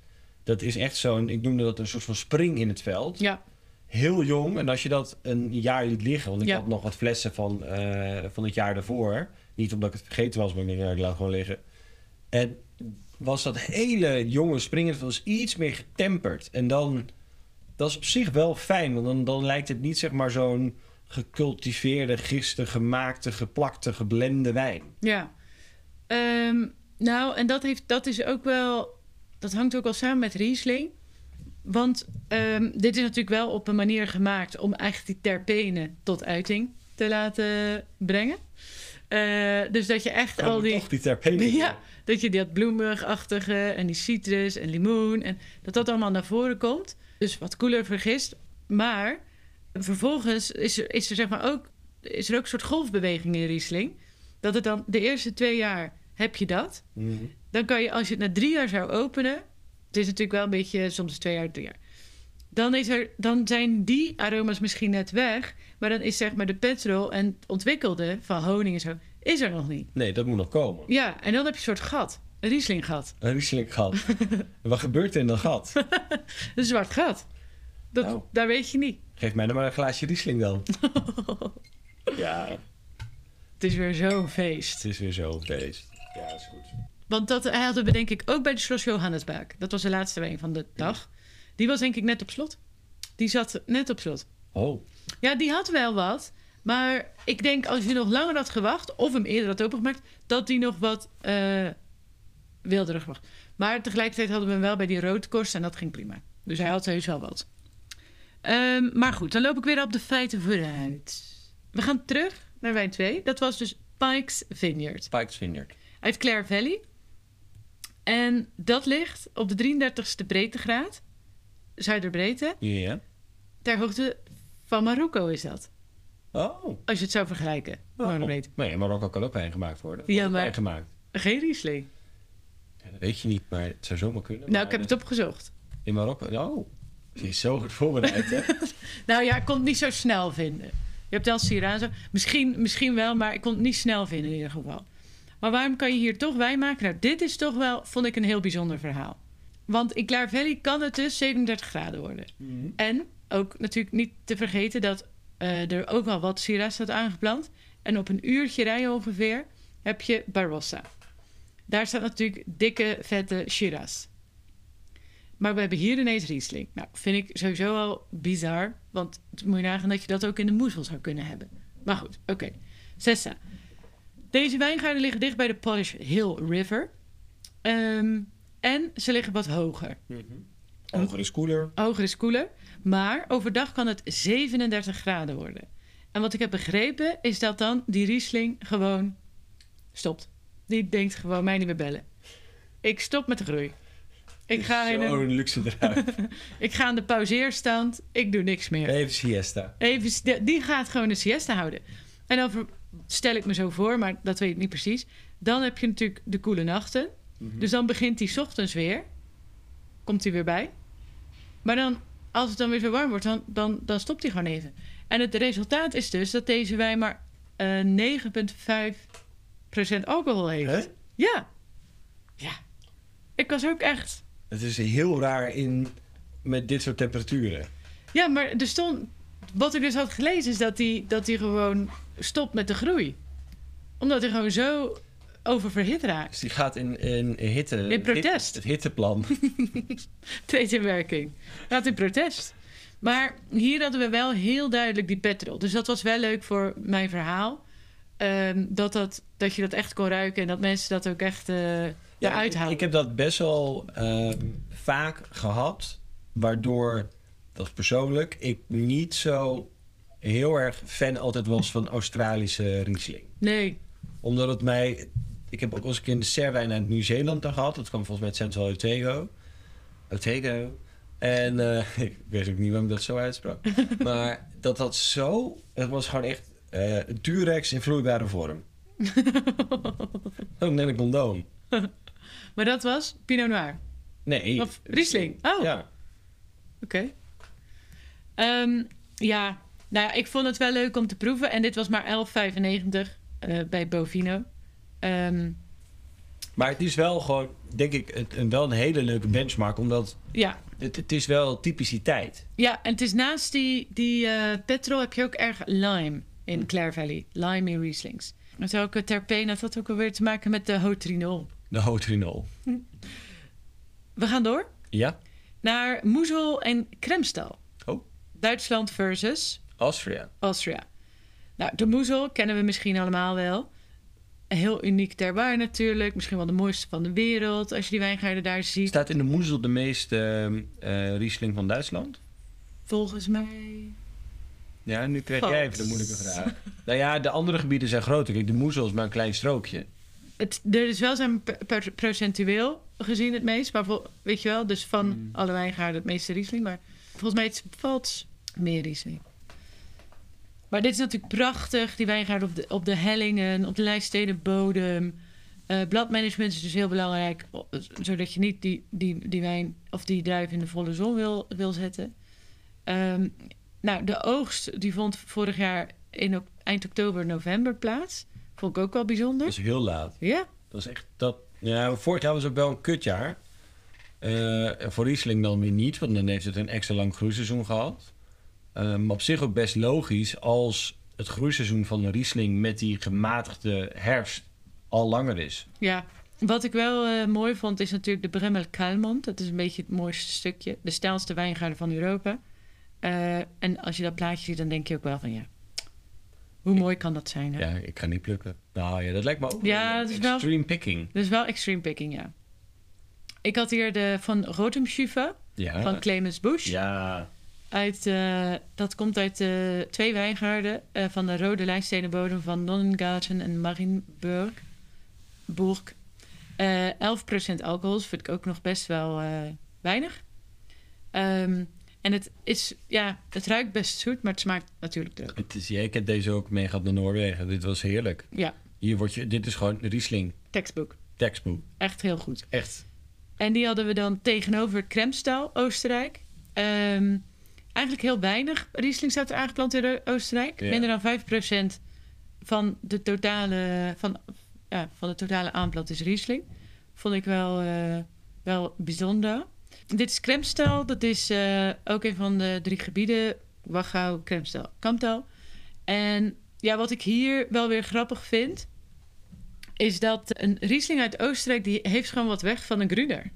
[SPEAKER 1] dat is echt zo'n, ik noemde dat een soort van spring in het veld.
[SPEAKER 2] Ja,
[SPEAKER 1] Heel jong. En als je dat een jaar liet liggen, want ik
[SPEAKER 2] Ja.
[SPEAKER 1] had nog wat flessen van, eh, van het jaar daarvoor. Niet omdat ik het vergeten was, maar ik denk, ja, ik laat het gewoon liggen. En was dat hele jonge springen was iets meer getemperd. En dan, dat is op zich wel fijn, want dan, dan lijkt het niet zeg maar zo'n gecultiveerde, gisten gemaakte, geplakte, geblende wijn.
[SPEAKER 2] ja. Ehm, nou, en dat, heeft, dat is ook wel... Dat hangt ook wel samen met Riesling. Want ehm, dit is natuurlijk wel op een manier gemaakt... om eigenlijk die terpenen tot uiting te laten brengen. Eh, dus dat je echt al die...
[SPEAKER 1] Toch die terpenen.
[SPEAKER 2] Ja, dat je dat bloemigachtige en die citrus en limoen en dat dat allemaal naar voren komt. Dus wat koeler vergist. Maar vervolgens is er, is er zeg maar ook is er ook een soort golfbeweging in Riesling. Dat het dan de eerste twee jaar heb je dat.
[SPEAKER 1] Mhm.
[SPEAKER 2] Dan kan je als je het na drie jaar zou openen. Het is natuurlijk wel een beetje soms twee jaar, drie jaar. Dan, is er, dan zijn die aroma's misschien net weg. Maar dan is zeg maar de petrol en het ontwikkelde van honing en zo... is er nog niet.
[SPEAKER 1] Nee, dat moet nog komen.
[SPEAKER 2] Ja, en dan heb je een soort gat. Een Riesling gat.
[SPEAKER 1] Een Riesling gat. Wat gebeurt er in dat gat?
[SPEAKER 2] Een zwart gat. Dat,
[SPEAKER 1] Nou.
[SPEAKER 2] Daar weet je niet.
[SPEAKER 1] Geef mij dan maar een glaasje Riesling dan. ja.
[SPEAKER 2] Het is weer zo'n feest.
[SPEAKER 1] Het is weer zo feest. Ja, is goed.
[SPEAKER 2] Want dat hij hadden we denk ik ook bij de Schloss Johannesbaak. Dat was de laatste wijn van de dag. Die was denk ik net op slot. Die zat net op slot.
[SPEAKER 1] Oh.
[SPEAKER 2] Ja, die had wel wat. Maar ik denk als je nog langer had gewacht... of hem eerder had opengemaakt... dat die nog wat eh wilderig was. Maar tegelijkertijd hadden we hem wel bij die roodkorst... en dat ging prima. Dus hij had heus wel wat. Ehm, maar goed, dan loop ik weer op de feiten vooruit. We gaan terug naar wijn 2. Dat was dus Pike's Vineyard.
[SPEAKER 1] Spikes Vineyard.
[SPEAKER 2] Uit Clare Valley. En dat ligt op de 33ste breedtegraad. Zuiderbreedte.
[SPEAKER 1] Ja.
[SPEAKER 2] Ter hoogte van Marokko is dat.
[SPEAKER 1] Oh.
[SPEAKER 2] Als je het zou vergelijken. Maar dan weet-
[SPEAKER 1] Nee, Marokko kan ook wijn gemaakt worden.
[SPEAKER 2] Ja,
[SPEAKER 1] Wordt
[SPEAKER 2] maar-
[SPEAKER 1] wijn gemaakt.
[SPEAKER 2] Geen Riesling.
[SPEAKER 1] Ja, dat weet je niet, maar het zou zomaar kunnen.
[SPEAKER 2] Nou,
[SPEAKER 1] maar
[SPEAKER 2] ik heb het opgezocht.
[SPEAKER 1] In Marokko... Oh. Je is zo goed voorbereid, hè?
[SPEAKER 2] Nou ja, ik kon het niet zo snel vinden. Je hebt wel Syrah. zo- Misschien, misschien wel, maar ik kon het niet snel vinden in ieder geval. Maar waarom kan je hier toch wijn maken? Nou, dit is toch wel, vond ik, een heel bijzonder verhaal. Want in Clare Valley kan het dus 37 graden worden.
[SPEAKER 1] Mhm.
[SPEAKER 2] En ook natuurlijk niet te vergeten dat eh, er ook wel wat Syrah staat aangeplant. En op een uurtje rijden ongeveer heb je Barossa. Daar staat natuurlijk dikke, vette Shiraz. Maar we hebben hier ineens Riesling. Nou, vind ik sowieso al bizar. Want het moet je nagaan dat je dat ook in de moezel zou kunnen hebben. Maar goed, oké. Sessa. Deze wijngaarden liggen dicht bij de Polish Hill River. Ehm, en ze liggen wat hoger.
[SPEAKER 1] Mhm. Hoger Oh, is koeler.
[SPEAKER 2] Hoger is koeler. Maar overdag kan het 37 graden worden. En wat ik heb begrepen is dat dan die Riesling gewoon stopt. Die denkt gewoon mij niet meer bellen. Ik stop met de groei. Ik ga, in een-
[SPEAKER 1] Zo'n luxe druif.
[SPEAKER 2] ik ga aan de pauzeerstand. Ik doe niks meer.
[SPEAKER 1] Even siesta.
[SPEAKER 2] Even, st- die gaat gewoon een siesta houden. En dan ver- stel ik me zo voor, maar dat weet ik niet precies. Dan heb je natuurlijk de koele nachten. Dus dan begint die 's ochtends weer. Komt hij weer bij. Maar dan, als het dan weer zo warm wordt, dan, dan, dan stopt hij gewoon even. En het resultaat is dus dat deze wijn maar eh, 9,5% alcohol heeft.
[SPEAKER 1] Hè?
[SPEAKER 2] Ja. Ja. Ik was ook echt...
[SPEAKER 1] Het is heel raar in... met dit soort temperaturen.
[SPEAKER 2] Ja, maar er stond. Wat ik dus had gelezen is dat hij dat die gewoon stopt met de groei. Omdat hij gewoon zo oververhit raakt.
[SPEAKER 1] Dus die gaat in, in hitte...
[SPEAKER 2] In protest.
[SPEAKER 1] het hitteplan.
[SPEAKER 2] Treedt in werking. Gaat in protest. Maar hier hadden we wel heel duidelijk die petrol. Dus dat was wel leuk voor mijn verhaal. Ehm, dat, dat, dat je dat echt kon ruiken en dat mensen dat ook echt eh
[SPEAKER 1] ik,
[SPEAKER 2] eruit halen.
[SPEAKER 1] ik heb dat best wel eh, vaak gehad, waardoor, dat is persoonlijk, ik niet zo heel erg fan altijd was van Australische Riesling.
[SPEAKER 2] Nee,
[SPEAKER 1] Omdat het mij. Ik heb ook eens een keer een serwijn uit Nieuw-Zeeland dan gehad. Dat kwam volgens mij uit Central Otago. Otago. En eh, ik weet ook niet waarom ik dat zo uitsprak. maar dat had zo. Het was gewoon echt eh Durex in vloeibare vorm. ook net een condoom.
[SPEAKER 2] maar dat was Pinot Noir.
[SPEAKER 1] Nee.
[SPEAKER 2] Of Riesling. Oh,
[SPEAKER 1] Ja.
[SPEAKER 2] Oké. Ehm, ja, nou ja, ik vond het wel leuk om te proeven. En dit was maar 11,95 eh, bij Bovino. Ehm,
[SPEAKER 1] Maar het is wel gewoon, denk ik, het- een, wel een hele leuke benchmark. Omdat
[SPEAKER 2] ja.
[SPEAKER 1] het, het is wel typiciteit.
[SPEAKER 2] ja, en het is naast die, die eh, petrol heb je ook erg lime in Clare Valley. Lime in Rieslings. Dat is ook eh, terpeen, dat had ook alweer te maken met de hotrinol.
[SPEAKER 1] De hotrinol.
[SPEAKER 2] We gaan door
[SPEAKER 1] Ja?
[SPEAKER 2] naar Moezel en Kremstal.
[SPEAKER 1] Oh.
[SPEAKER 2] Duitsland versus
[SPEAKER 1] Austria.
[SPEAKER 2] Austria. Nou, de moezel kennen we misschien allemaal wel. Heel uniek ter waar natuurlijk. Misschien wel de mooiste van de wereld als je die wijngaarden daar ziet.
[SPEAKER 1] Staat in de moezel de meeste eh, eh, Riesling van Duitsland?
[SPEAKER 2] Volgens mij...
[SPEAKER 1] Ja, nu krijg
[SPEAKER 2] Oh.
[SPEAKER 1] jij even de moeilijke vraag. nou ja, de andere gebieden zijn groter. Kijk, de moezel is maar een klein strookje.
[SPEAKER 2] Het, er is wel zijn per- per- procentueel gezien het meest. Maar vol- weet je wel, dus van alle wijngaarden het meeste Riesling. Maar volgens mij het valt meer Riesling. Maar dit is natuurlijk prachtig. Die wijngaarden op de, op de hellingen, op de lijststedenbodem. Eh bladmanagement is dus heel belangrijk. o- Zodat je niet die, die, die wijn of die druif in de volle zon wil, wil zetten. Ehm, nou, de oogst die vond vorig jaar in, ok- eind oktober, november plaats. Vond ik ook wel bijzonder.
[SPEAKER 1] Dat is heel laat.
[SPEAKER 2] Ja,
[SPEAKER 1] Dat is echt dat. Ja, vorig jaar was het wel een kutjaar. Eh, en voor Riesling dan weer niet, want dan heeft het een extra lang groeiseizoen gehad. Eh, maar op zich ook best logisch als het groeiseizoen van de Riesling met die gematigde herfst al langer is.
[SPEAKER 2] Ja, wat ik wel eh, mooi vond is natuurlijk de Bremmel Kalmond. Dat is een beetje het mooiste stukje. De stijlste wijngaarden van Europa. Eh, en als je dat plaatje ziet, dan denk je ook wel van ja, hoe mooi kan dat zijn? Hè?
[SPEAKER 1] Ja, ik ga niet plukken. Nou ja, dat lijkt me ook
[SPEAKER 2] Ja,
[SPEAKER 1] een
[SPEAKER 2] dat is wel-
[SPEAKER 1] extreme picking.
[SPEAKER 2] Dus wel extreme picking, ja. Ik had hier de van Rotemschufe
[SPEAKER 1] Ja.
[SPEAKER 2] van Clemens Busch.
[SPEAKER 1] ja.
[SPEAKER 2] Uit, eh, dat komt uit eh, twee wijngaarden eh, van de rode lijnstenenbodem van Nonnengarten en Marienburg. Burg. Eh, 11% alcohol vind ik ook nog best wel eh, weinig. Ehm, en het, is, ja, het ruikt best zoet, maar het smaakt natuurlijk droog.
[SPEAKER 1] Het is, ja, ik heb deze ook mee gehad naar Noorwegen. Dit was heerlijk.
[SPEAKER 2] Ja,
[SPEAKER 1] Hier word je, dit is gewoon Riesling
[SPEAKER 2] textbook.
[SPEAKER 1] textbook.
[SPEAKER 2] Echt heel goed.
[SPEAKER 1] Echt.
[SPEAKER 2] En die hadden we dan tegenover Kremstal, Oostenrijk. Ehm, eigenlijk heel weinig Riesling staat er aangeplant in Ro- Oostenrijk.
[SPEAKER 1] Ja.
[SPEAKER 2] Minder dan 5% van de totale, van, ja, van de totale aanplant is Riesling. Vond ik wel, eh, wel bijzonder. Dit is Kremstal. Dat is eh, ook een van de drie gebieden. Wachau, Kremstal, Kamptal. En ja, wat ik hier wel weer grappig vind... is dat een Riesling uit Oostenrijk... die heeft gewoon wat weg van een Gruner.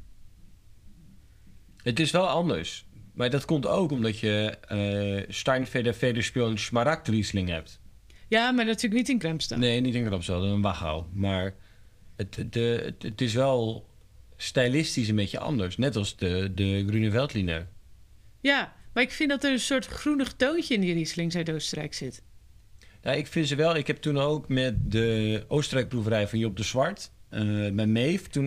[SPEAKER 1] Het is wel anders. Maar dat komt ook omdat je eh Steinfeder, Vederspeel en Smaragd Riesling hebt.
[SPEAKER 2] Ja, maar natuurlijk niet in Kremstal.
[SPEAKER 1] Nee, niet in Krapsel, een Wachau. Maar het, de, het, het is wel stylistisch een beetje anders. Net als de, de Grune Veldliner.
[SPEAKER 2] Ja, maar ik vind dat er een soort groenig toontje in die Riesling Zuid-Oostenrijk zit.
[SPEAKER 1] Nou, ik vind ze wel. Ik heb toen ook met de Oostenrijkproeverij van Job de Zwart, eh mijn neef, toen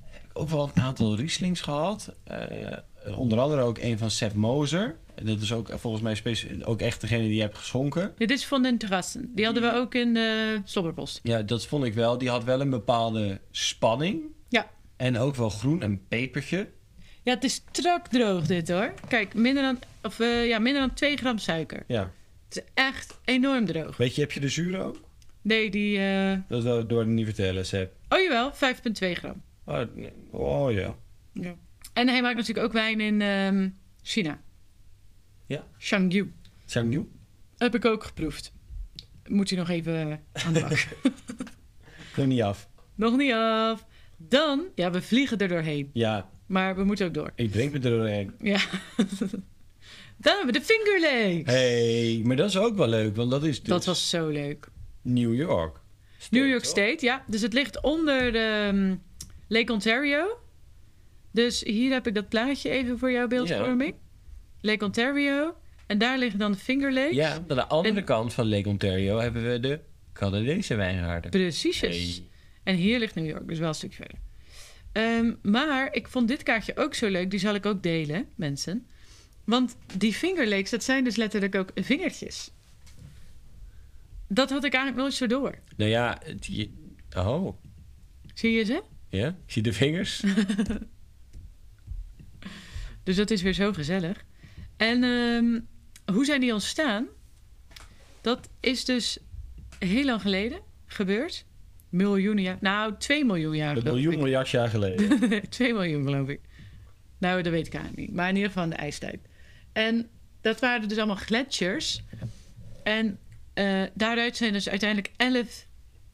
[SPEAKER 1] heb ik ook wel een aantal Rieslings gehad. Eh, onder andere ook een van Seth Moser. Dat is ook eh, volgens mij specie- ook echt degene die je hebt geschonken.
[SPEAKER 2] Dit is van den terrassen. Die hadden we
[SPEAKER 1] Mm.
[SPEAKER 2] ook in eh, de Slobberpost.
[SPEAKER 1] Ja, dat vond ik wel. Die had wel een bepaalde spanning.
[SPEAKER 2] Ja.
[SPEAKER 1] En ook wel groen en pepertje.
[SPEAKER 2] Ja, het is strak droog dit hoor. Kijk, minder dan, of, eh, ja, minder dan 2 gram suiker.
[SPEAKER 1] Ja.
[SPEAKER 2] Het is echt enorm droog.
[SPEAKER 1] Weet je, heb je de zuur ook?
[SPEAKER 2] Nee, die... eh,
[SPEAKER 1] Dat wil ik door niet vertellen, Seb.
[SPEAKER 2] Oh jawel, 5,2 gram.
[SPEAKER 1] Oh, nee. oh ja.
[SPEAKER 2] Ja. En hij maakt natuurlijk ook wijn in ehm, China.
[SPEAKER 1] Ja.
[SPEAKER 2] Shangyu.
[SPEAKER 1] Zijn we nieuw?
[SPEAKER 2] Heb ik ook geproefd. Moet hij nog even eh, aan de bak.
[SPEAKER 1] Nog niet af.
[SPEAKER 2] Nog niet af. Dan, ja, we vliegen er doorheen.
[SPEAKER 1] Ja,
[SPEAKER 2] Maar we moeten ook door.
[SPEAKER 1] ik drink me er doorheen.
[SPEAKER 2] Ja. Dan hebben we de Finger Lakes.
[SPEAKER 1] hey, maar dat is ook wel leuk, want dat is dus
[SPEAKER 2] Dat was zo leuk.
[SPEAKER 1] New York.
[SPEAKER 2] New York
[SPEAKER 1] toch?
[SPEAKER 2] State, ja. Dus het ligt onder de, ehm, Lake Ontario. Dus hier heb ik dat plaatje even voor jouw beeldvorming. Lake Ontario. En daar liggen dan de Finger Lakes.
[SPEAKER 1] Ja, aan de andere
[SPEAKER 2] En-
[SPEAKER 1] kant van Lake Ontario hebben we de Canadese wijngaarden.
[SPEAKER 2] Precies.
[SPEAKER 1] Hey.
[SPEAKER 2] En hier ligt New York, dus wel een stukje verder. Ehm, maar ik vond dit kaartje ook zo leuk. Die zal ik ook delen, mensen. Want die Finger Lakes, dat zijn dus letterlijk ook vingertjes. Dat had ik eigenlijk nooit zo door.
[SPEAKER 1] Nou ja, het- je- oh,
[SPEAKER 2] Zie je ze?
[SPEAKER 1] ja, ik zie de vingers.
[SPEAKER 2] Dus dat is weer zo gezellig. En ehm, hoe zijn die ontstaan? Dat is dus heel lang geleden gebeurd. Miljoenen jaar. Nou, 2 miljoen jaar
[SPEAKER 3] Een
[SPEAKER 2] geloof
[SPEAKER 3] miljoen
[SPEAKER 2] ik.
[SPEAKER 3] miljard jaar geleden.
[SPEAKER 2] 2 miljoen, geloof ik. Nou, dat weet ik eigenlijk niet. Maar in ieder geval in de ijstijd. En dat waren dus allemaal gletsjers. En eh, daaruit zijn dus uiteindelijk 11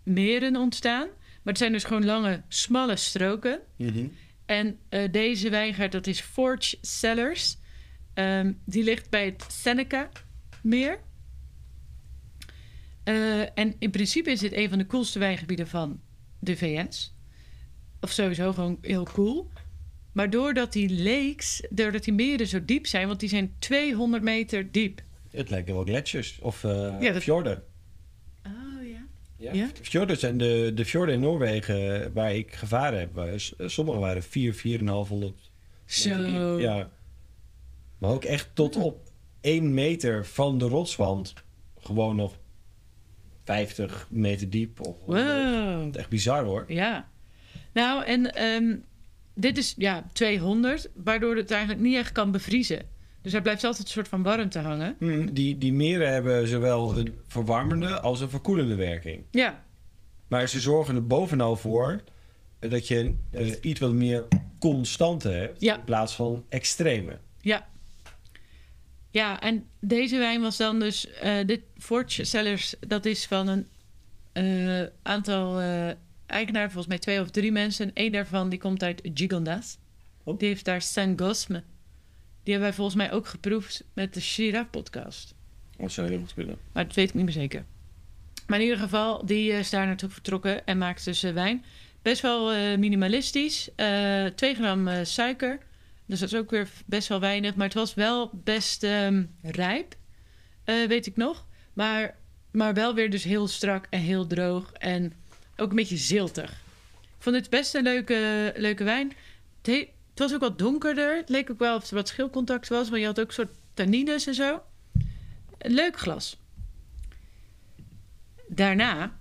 [SPEAKER 2] meren ontstaan. Maar het zijn dus gewoon lange, smalle stroken.
[SPEAKER 1] Mhm.
[SPEAKER 2] En eh, deze wijngaard, dat is Forge Cellars. Ehm, die ligt bij het Seneca-meer. Eh, en in principe is dit een van de coolste wijngebieden van de VS. Of sowieso gewoon heel cool. Maar doordat die lakes, doordat die meren zo diep zijn... want die zijn 200 meter diep.
[SPEAKER 3] Het lijken wel gletsjers of eh
[SPEAKER 2] Ja, dat-
[SPEAKER 3] fjorden.
[SPEAKER 2] Oh ja. Ja?
[SPEAKER 3] Ja. Fjorden zijn de, de fjorden in Noorwegen waar ik gevaren heb. Waar s- Sommige waren 4, 4,500.
[SPEAKER 2] Zo.
[SPEAKER 3] Ja. Maar ook echt tot op 1 meter van de rotswand. Gewoon nog 50 meter diep. Of,
[SPEAKER 2] Wow.
[SPEAKER 3] Echt bizar hoor.
[SPEAKER 2] Ja. Nou, en ehm, dit is ja, 200, waardoor het eigenlijk niet echt kan bevriezen. Dus hij blijft altijd een soort van warmte hangen.
[SPEAKER 3] Hm, Die, die meren hebben zowel een verwarmende als een verkoelende werking.
[SPEAKER 2] Ja,
[SPEAKER 3] Maar ze zorgen er bovenal voor eh, dat je eh, iets wat meer constante hebt
[SPEAKER 2] Ja.
[SPEAKER 3] in plaats van extreme.
[SPEAKER 2] ja. Ja, en deze wijn was dan dus... eh, dit Forge Cellars, dat is van een eh, aantal eh eigenaren. Volgens mij twee of drie mensen. En één daarvan, die komt uit Gigondas.
[SPEAKER 3] Oh.
[SPEAKER 2] Die heeft daar Saint Gosme. Die hebben wij volgens mij ook geproefd met de Shira-podcast.
[SPEAKER 3] Dat zou heel goed kunnen.
[SPEAKER 2] Maar dat weet ik niet meer zeker. Maar in ieder geval, die eh, is daar naartoe vertrokken en maakt dus eh, wijn. Best wel eh, minimalistisch. eh 2 gram eh, suiker. Dus dat is ook weer best wel weinig. Maar het was wel best ehm, rijp, eh, weet ik nog. Maar, maar wel weer dus heel strak en heel droog. En ook een beetje ziltig. Ik vond het best een leuke, leuke wijn. Het, he- het was ook wat donkerder. Het leek ook wel of er wat schilcontact was. Maar je had ook een soort tannines en zo. Een leuk glas. Daarna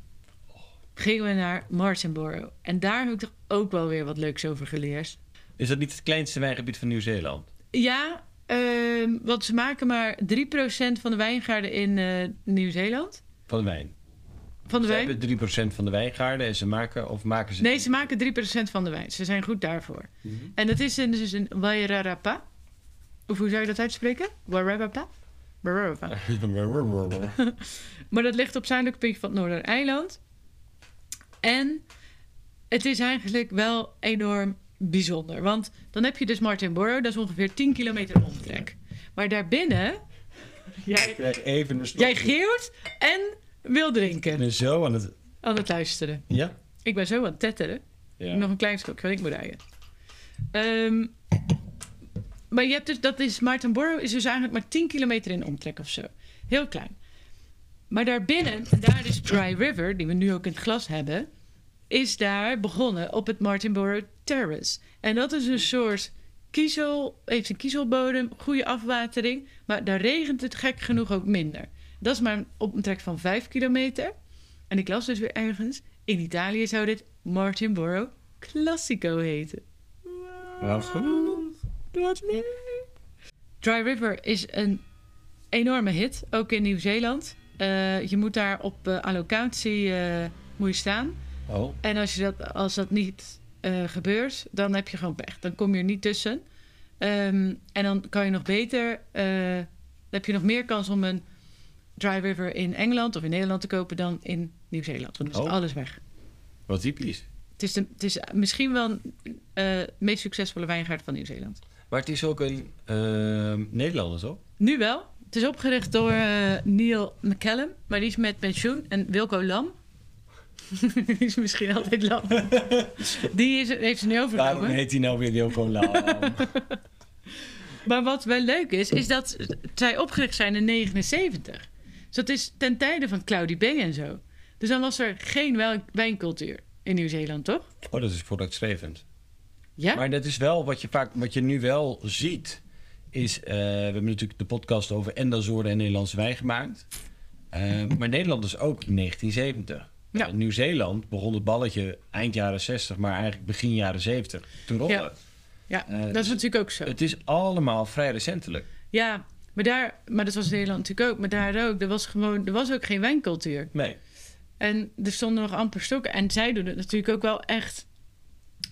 [SPEAKER 2] gingen we naar Martinborough. En daar heb ik toch ook wel weer wat leuks over geleerd.
[SPEAKER 1] Is dat niet het kleinste wijngebied van Nieuw-Zeeland?
[SPEAKER 2] Ja, ehm, want ze maken maar 3% van de wijngaarden in eh, Nieuw-Zeeland.
[SPEAKER 1] Van de wijn.
[SPEAKER 2] Van de
[SPEAKER 1] Ze
[SPEAKER 2] wijn.
[SPEAKER 1] hebben 3% van de wijngaarden en ze maken, of maken ze...
[SPEAKER 2] Nee, ze maken 3% van de wijn. Ze zijn goed daarvoor.
[SPEAKER 1] Mhm.
[SPEAKER 2] En dat is een- dus een Wairarapa. Of hoe zou je dat uitspreken? Wairarapa? Wairarapa. Maar dat ligt op zuidelijk puntje van het Noordereiland. En het is eigenlijk wel enorm bijzonder. Want dan heb je dus Martinborough, dat is ongeveer 10 kilometer omtrek. Maar daarbinnen, jij,
[SPEAKER 3] Ik krijg even een slokje.
[SPEAKER 2] jij geeuwt en wil
[SPEAKER 3] Ik
[SPEAKER 2] drinken.
[SPEAKER 3] ben zo aan het...
[SPEAKER 2] Aan het luisteren.
[SPEAKER 3] Ja?
[SPEAKER 2] Ik ben zo aan het tetteren.
[SPEAKER 3] Ja.
[SPEAKER 2] Nog een klein stokje, want ik moet rijden. Ehm, maar je hebt dus, dat is Martinborough is dus eigenlijk maar 10 kilometer in omtrek of zo. Heel klein. Maar daarbinnen, daar is Dry River, die we nu ook in het glas hebben, is daar begonnen op het Martinborough Terrace. En dat is een soort kiezel, heeft een kiezelbodem, goede afwatering, maar daar regent het gek genoeg ook minder. Dat is maar een omtrek van 5 kilometer. En ik las dus weer ergens, in Italië zou dit Martinborough Classico heten.
[SPEAKER 3] Nou, goed.
[SPEAKER 2] Wat leuk. Dry River is een enorme hit, ook in Nieuw-Zeeland. Eh, je moet daar op eh, allocatie eh, moet je staan.
[SPEAKER 3] Oh.
[SPEAKER 2] En als, je dat, als dat niet eh, gebeurt, dan heb je gewoon pech. Dan kom je er niet tussen. Ehm, en dan kan je nog beter... eh, dan heb je nog meer kans om een Dry River in Engeland of in Nederland te kopen... dan in Nieuw-Zeeland. Want dan is
[SPEAKER 1] Oh.
[SPEAKER 2] alles weg.
[SPEAKER 1] Wat typisch.
[SPEAKER 2] Het is, de, het is misschien wel eh, de meest succesvolle wijngaard van Nieuw-Zeeland.
[SPEAKER 1] Maar het is ook een ehm Nederlander, toch?
[SPEAKER 2] Nu wel. Het is opgericht door eh, Neil McCallum, maar die is met pensioen. En Wilco Lam. die is misschien altijd Lam. die is, heeft ze nu
[SPEAKER 1] Waarom
[SPEAKER 2] overgenomen.
[SPEAKER 1] heet hij nou weer Wilco Lau?
[SPEAKER 2] Maar wat wel leuk is, is dat zij opgericht zijn in 79. Dus dat is ten tijde van Cloudy Bay en zo. Dus dan was er geen wel- wijncultuur in Nieuw-Zeeland, toch?
[SPEAKER 1] oh, dat is vooruitstrevend.
[SPEAKER 2] Ja?
[SPEAKER 1] Maar dat is wel wat je vaak, wat je nu wel ziet, is eh, we hebben natuurlijk de podcast over Endazoren en Nederlandse wijn gemaakt. Eh, maar Nederland is ook 1970.
[SPEAKER 2] Ja.
[SPEAKER 1] Eh, Nieuw-Zeeland begon het balletje eind jaren 60, maar eigenlijk begin jaren 70 te rollen.
[SPEAKER 2] Ja. ja,
[SPEAKER 1] eh,
[SPEAKER 2] dat is natuurlijk ook zo.
[SPEAKER 1] Het is allemaal vrij recentelijk.
[SPEAKER 2] Ja, maar daar, maar dat was in Nederland natuurlijk ook. Maar daar ook, er was gewoon, er was ook geen wijncultuur.
[SPEAKER 1] Nee.
[SPEAKER 2] En er stonden nog amper stokken. En zij doen het natuurlijk ook wel echt.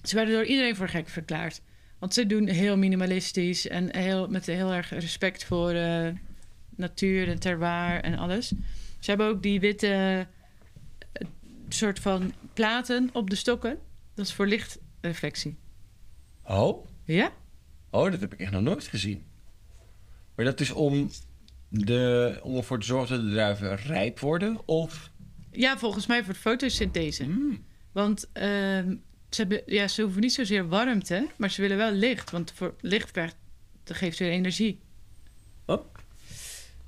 [SPEAKER 2] Ze werden door iedereen voor gek verklaard. Want ze doen heel minimalistisch en heel, met heel erg respect voor eh, natuur en terroir en alles. Ze hebben ook die witte eh, soort van platen op de stokken. Dat is voor lichtreflectie.
[SPEAKER 1] Oh,
[SPEAKER 2] Ja?
[SPEAKER 1] oh, dat heb ik echt nog nooit gezien. Maar dat is om, de, om ervoor te zorgen dat de druiven rijp worden? Of hmm,
[SPEAKER 2] Ja, volgens mij voor de fotosynthese. Want ehm, ze, hebben, ja, ze hoeven niet zozeer warmte, maar ze willen wel licht. Want voor licht krijgt, dat geeft weer energie.
[SPEAKER 1] Oh.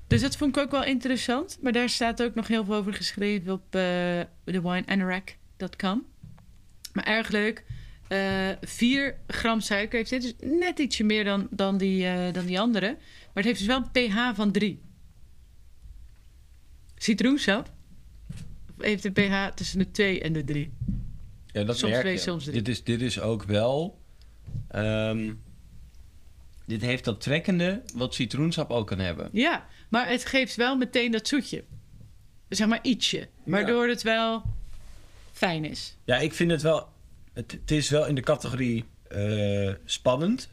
[SPEAKER 2] Dus dat vond ik ook wel interessant. Maar daar staat ook nog heel veel over geschreven op eh, de thewineanorak.com. Maar erg leuk. Eh 4 gram suiker heeft dit. Dus net ietsje meer dan, dan, die, eh, dan die andere. Maar het heeft dus wel een pH van 3. Citroensap heeft een pH tussen de 2 en de 3.
[SPEAKER 1] Ja, dat
[SPEAKER 2] Soms
[SPEAKER 1] merk
[SPEAKER 2] twee,
[SPEAKER 1] je.
[SPEAKER 2] soms drie.
[SPEAKER 1] Dit is, dit is ook wel... ehm, dit heeft dat trekkende wat citroensap ook kan hebben.
[SPEAKER 2] Ja, maar het geeft wel meteen dat zoetje. Zeg maar ietsje. Waardoor het wel fijn is.
[SPEAKER 1] Ja, ik vind het wel... Het, het is wel in de categorie eh, spannend.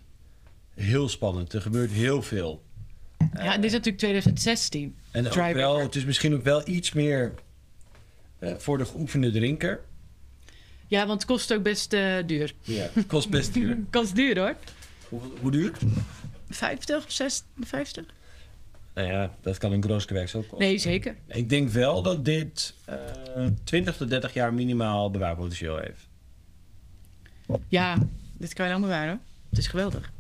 [SPEAKER 1] Heel spannend. Er gebeurt heel veel.
[SPEAKER 2] Ja, dit is natuurlijk 2016.
[SPEAKER 1] En ook
[SPEAKER 2] Dry
[SPEAKER 1] wel,
[SPEAKER 2] River.
[SPEAKER 1] het is misschien ook wel iets meer eh, voor de geoefende drinker.
[SPEAKER 2] Ja, want het kost ook best eh, duur.
[SPEAKER 1] Ja, het kost best duur.
[SPEAKER 2] Kost duur hoor.
[SPEAKER 1] Hoe, hoe duur?
[SPEAKER 2] 50 of 56?
[SPEAKER 1] Nou ja, dat kan een Grooskewerks ook kosten.
[SPEAKER 2] Nee, zeker.
[SPEAKER 1] Ik denk wel dat dit eh 20 tot 30 jaar minimaal bewaarpotentieel heeft.
[SPEAKER 2] Ja, dit kan je lang bewaren. hoor. Het is geweldig.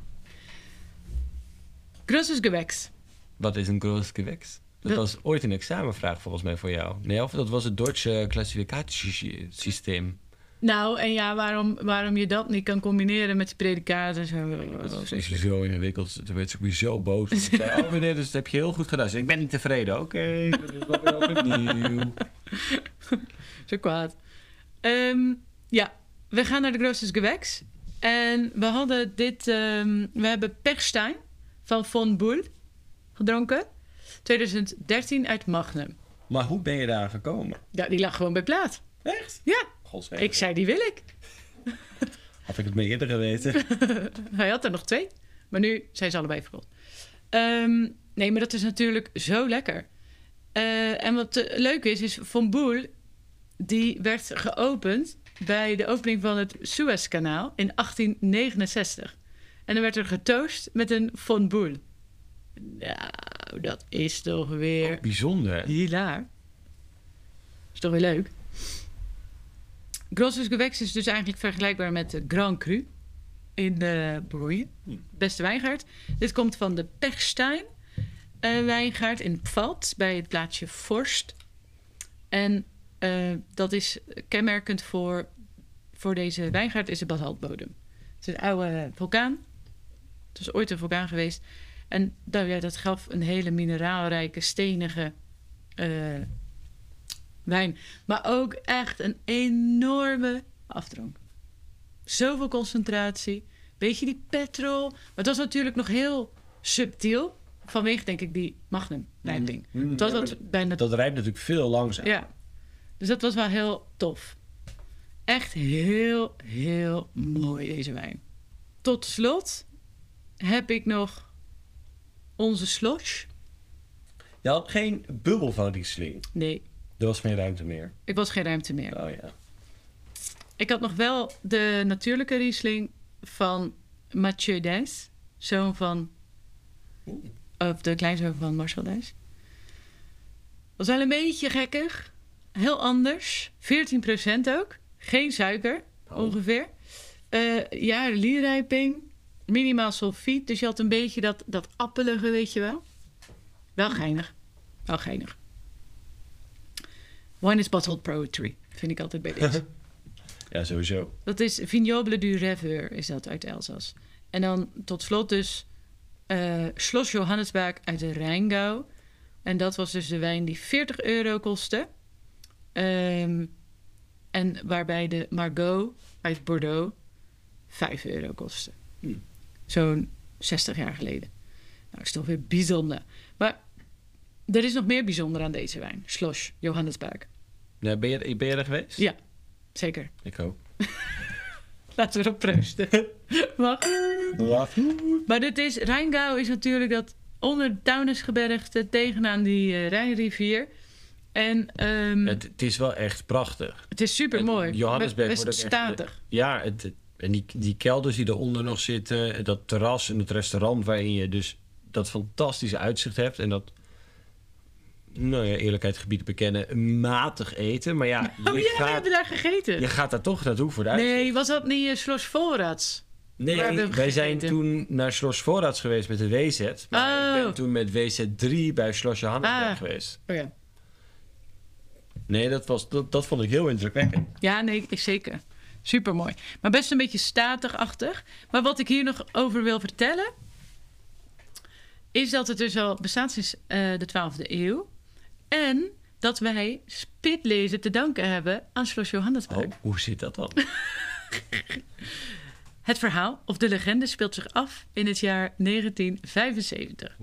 [SPEAKER 2] Grosses Gewex.
[SPEAKER 1] Wat is een Großgewächs? Dat
[SPEAKER 2] Dat-
[SPEAKER 1] was ooit een examenvraag volgens mij voor jou. Nee, of dat was het Duitse klassificatiesysteem.
[SPEAKER 2] Nou, en ja, waarom, waarom je dat niet kan combineren met die predicaten en zo.
[SPEAKER 1] Dat is zo ingewikkeld. Toen werd ze ook zo boos. Ze zei, oh meneer, dus dat heb je heel goed gedaan. Ze zei, ik ben niet tevreden. Oké, dat is wel weer opnieuw.
[SPEAKER 2] Zo kwaad. Ehm, ja, we gaan naar de Grosses Gewex. En we hadden dit... ehm, we hebben Pechstein van Von Boel gedronken. 2013 uit Magnum.
[SPEAKER 1] Maar hoe ben je daar gekomen?
[SPEAKER 2] Ja, die lag gewoon bij plaat.
[SPEAKER 1] Echt?
[SPEAKER 2] Ja,
[SPEAKER 1] Godswege.
[SPEAKER 2] ik zei die wil ik.
[SPEAKER 1] Had ik het maar eerder geweten.
[SPEAKER 2] Hij had er nog twee, maar nu zijn ze allebei verkocht. Ehm, nee, maar dat is natuurlijk zo lekker. Eh, en wat eh, leuk is, is Van Boel... die werd geopend bij de opening van het Suezkanaal in 1869. En dan werd er getoost met een Van Boel. Nou, dat is toch weer
[SPEAKER 1] Oh, Bijzonder.
[SPEAKER 2] hilaar. Is toch weer leuk? Grossus Gewächs is dus eigenlijk vergelijkbaar met de Grand Cru in eh Bourgogne. Beste wijngaard. Dit komt van de Pechstein eh, wijngaard in Pfalz bij het plaatsje Forst. En eh, dat is kenmerkend voor, voor deze wijngaard is de basaltbodem. Het is een oude vulkaan. Het is ooit een vulkaan geweest. En nou ja, dat gaf een hele mineraalrijke, stenige eh, wijn. Maar ook echt een enorme afdronk. Zoveel concentratie. Beetje die petrol. Maar het was natuurlijk nog heel subtiel. Vanwege, denk ik, die magnum
[SPEAKER 1] Mhm.
[SPEAKER 2] rijping. Het was wat bijna...
[SPEAKER 1] Hmm. Dat rijdt natuurlijk veel langzaam.
[SPEAKER 2] Ja. Dus dat was wel heel tof. Echt heel, heel mooi deze wijn. Tot slot heb ik nog onze slosh.
[SPEAKER 1] Je had geen bubbel van Riesling.
[SPEAKER 2] Nee,
[SPEAKER 1] Er was geen ruimte meer.
[SPEAKER 2] ik was geen ruimte meer.
[SPEAKER 1] Oh ja.
[SPEAKER 2] Ik had nog wel de natuurlijke Riesling van Mathieu Dijs, zoon van Of de kleinzoon van Marcel Duis. Was wel een beetje gekkig. Heel anders. 14% ook. Geen suiker, ongeveer. Eh, ja, lierrijping. Minimaal sulfiet. Dus je had een beetje dat, dat appelige, weet je wel. Wel geinig. Wel geinig. Wine is bottled poetry. Vind ik altijd bij dit.
[SPEAKER 1] Ja, sowieso.
[SPEAKER 2] Dat is Vignoble du Rêveur, is dat uit Elzas. En dan tot slot dus eh Schloss Johannesberg uit de Rijngau. En dat was dus de wijn die 40 euro kostte. Ehm, en waarbij de Margot uit Bordeaux 5 euro kostte.
[SPEAKER 1] Hmm.
[SPEAKER 2] Zo'n 60 jaar geleden. Nou, is toch weer bijzonder. Maar er is nog meer bijzonder aan deze wijn. Schloss Johannesberg.
[SPEAKER 1] Ja, ben, je, ben je er geweest?
[SPEAKER 2] Ja, zeker.
[SPEAKER 1] Ik ook.
[SPEAKER 2] Laten we erop proosten. Mag? Maar dit is, Rijngau is natuurlijk dat onder de Taunusgebergte tegenaan die eh, Rijnrivier. En ehm,
[SPEAKER 1] Het, het is wel echt prachtig.
[SPEAKER 2] het is super mooi.
[SPEAKER 1] Het- Johannesberg wordt ook echt-
[SPEAKER 2] statig.
[SPEAKER 1] Ja, het, het- en die, die kelders die eronder nog zitten, dat terras en het restaurant waarin je dus dat fantastische uitzicht hebt en dat, nou ja, eerlijkheid gebied bekennen, matig eten. Maar ja, je,
[SPEAKER 2] Oh ja, we
[SPEAKER 1] gaat,
[SPEAKER 2] hebben daar gegeten.
[SPEAKER 1] je gaat daar toch naartoe voor de uitzicht.
[SPEAKER 2] nee, was dat niet eh, Schloss Volrats?
[SPEAKER 1] Nee,
[SPEAKER 2] Waar hebben we
[SPEAKER 1] wij zijn
[SPEAKER 2] gegeten?
[SPEAKER 1] toen naar Schloss Voorraads geweest met de WZ. Maar ik
[SPEAKER 2] Oh.
[SPEAKER 1] ben toen met WZ3 bij Schloss Johannesberg
[SPEAKER 2] Ah.
[SPEAKER 1] geweest.
[SPEAKER 2] Oh ja.
[SPEAKER 1] Nee, dat, was, dat, dat vond ik heel indrukwekkend.
[SPEAKER 2] Ja, nee, ik- zeker. Super mooi. Maar best een beetje statigachtig. Maar wat ik hier nog over wil vertellen. Is dat het dus al bestaat sinds eh, de 12e eeuw. En dat wij spitlezen te danken hebben aan Schloss Johannesburg.
[SPEAKER 1] Oh, hoe zit dat dan?
[SPEAKER 2] Het verhaal of de legende speelt zich af in het jaar 1975.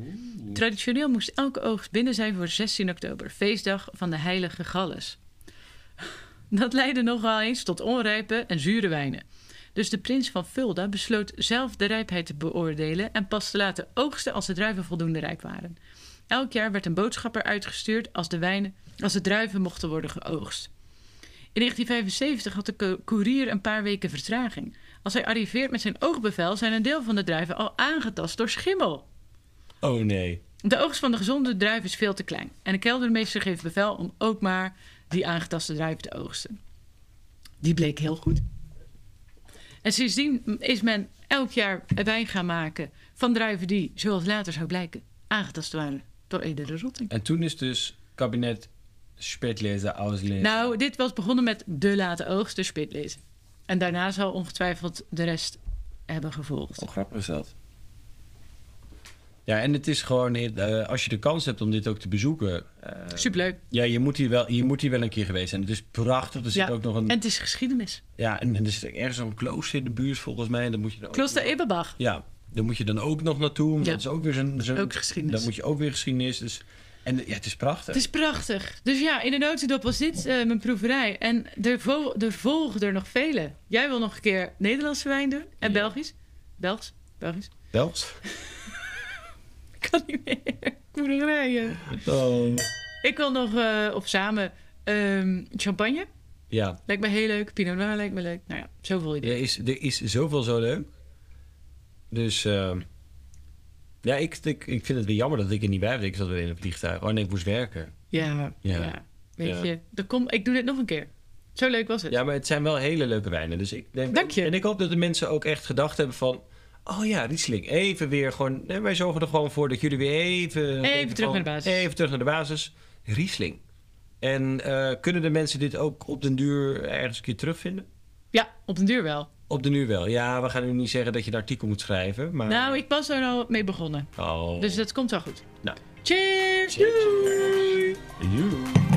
[SPEAKER 2] Traditioneel moest elke oogst binnen zijn voor 16 oktober, feestdag van de heilige Galles. Dat leidde nogal eens tot onrijpe en zure wijnen. Dus de prins van Fulda besloot zelf de rijpheid te beoordelen en pas te laten oogsten als de druiven voldoende rijp waren. Elk jaar werd een boodschapper uitgestuurd als de, wijnen, als de druiven mochten worden geoogst. In 1975 had de co- koerier een paar weken vertraging. Als hij arriveert met zijn oogbevel zijn een deel van de druiven al aangetast door schimmel.
[SPEAKER 1] Oh nee.
[SPEAKER 2] De oogst van de gezonde druif is veel te klein. En de keldermeester geeft bevel om ook maar die aangetaste druif te oogsten. Die bleek heel goed. En sindsdien is men elk jaar wijn gaan maken van druiven die, zoals later zou blijken, aangetast waren door eerdere rotting.
[SPEAKER 1] En toen is dus kabinet Spätlese auslezen.
[SPEAKER 2] Nou, dit was begonnen met de late oogst, de spitlezen. En daarna zal ongetwijfeld de rest hebben gevolgd.
[SPEAKER 1] Hoe grappig is dat? Ja, en het is gewoon, eh, als je de kans hebt om dit ook te bezoeken. eh,
[SPEAKER 2] Superleuk.
[SPEAKER 1] ja, je moet, hier wel, je moet hier wel een keer geweest zijn. Het is prachtig. Er zit
[SPEAKER 2] Ja,
[SPEAKER 1] ook nog een. Oh,
[SPEAKER 2] En het is geschiedenis.
[SPEAKER 1] ja, en, en er zit ergens een klooster in de buurt volgens mij. En dan moet je dan ook-
[SPEAKER 2] Klooster Eberbach.
[SPEAKER 1] Ja, daar moet je dan ook nog naartoe.
[SPEAKER 2] Ja.
[SPEAKER 1] Eh, Dat is ook weer zo'n... zo'n-
[SPEAKER 2] Ook geschiedenis.
[SPEAKER 1] Dan moet je ook weer geschiedenis. Dus, en ja, het is prachtig.
[SPEAKER 2] Het is prachtig. Dus ja, in de notendop was dit eh, mijn proeverij. En er, vo- er volgen er nog vele. Jij wil nog een keer Nederlandse wijn doen. En
[SPEAKER 1] Ja.
[SPEAKER 2] Belgisch. Belgisch. Belgisch.
[SPEAKER 1] Belgisch.
[SPEAKER 2] Ik kan niet meer. Ik moet nog rijden. Ik wil nog eh, op samen ehm, champagne.
[SPEAKER 1] Ja,
[SPEAKER 2] Lijkt me heel leuk. Pinot Noir lijkt me leuk. Nou ja, zoveel ideeën.
[SPEAKER 1] er is, er is zoveel zo leuk. Dus ehm, ja, ik, ik, ik vind het weer jammer dat ik er niet bij was. Ik zat weer in een vliegtuig. Oh nee, ik moest werken.
[SPEAKER 2] Ja. ja.
[SPEAKER 1] Ja.
[SPEAKER 2] Weet
[SPEAKER 1] Ja.
[SPEAKER 2] je. Dan kom, ik doe dit nog een keer. Zo leuk was het.
[SPEAKER 1] Ja, maar het zijn wel hele leuke wijnen. Dus ik denk,
[SPEAKER 2] Dank je.
[SPEAKER 1] En ik hoop dat de mensen ook echt gedacht hebben van... Oh ja, Riesling, even weer gewoon... Nee, wij zorgen er gewoon voor dat jullie weer even...
[SPEAKER 2] terug
[SPEAKER 1] gewoon-
[SPEAKER 2] naar de basis.
[SPEAKER 1] Even terug naar de basis. Riesling. En eh, kunnen de mensen dit ook op den duur ergens een keer terugvinden?
[SPEAKER 2] ja op den duur wel.
[SPEAKER 1] Op den duur wel. Ja, we gaan nu niet zeggen dat je een artikel moet schrijven, maar...
[SPEAKER 2] Nou, ik was er al mee begonnen.
[SPEAKER 1] Oh.
[SPEAKER 2] Dus dat komt wel goed.
[SPEAKER 1] Nou.
[SPEAKER 2] Cheers!
[SPEAKER 1] Cheers.
[SPEAKER 2] Doei!
[SPEAKER 1] Joe.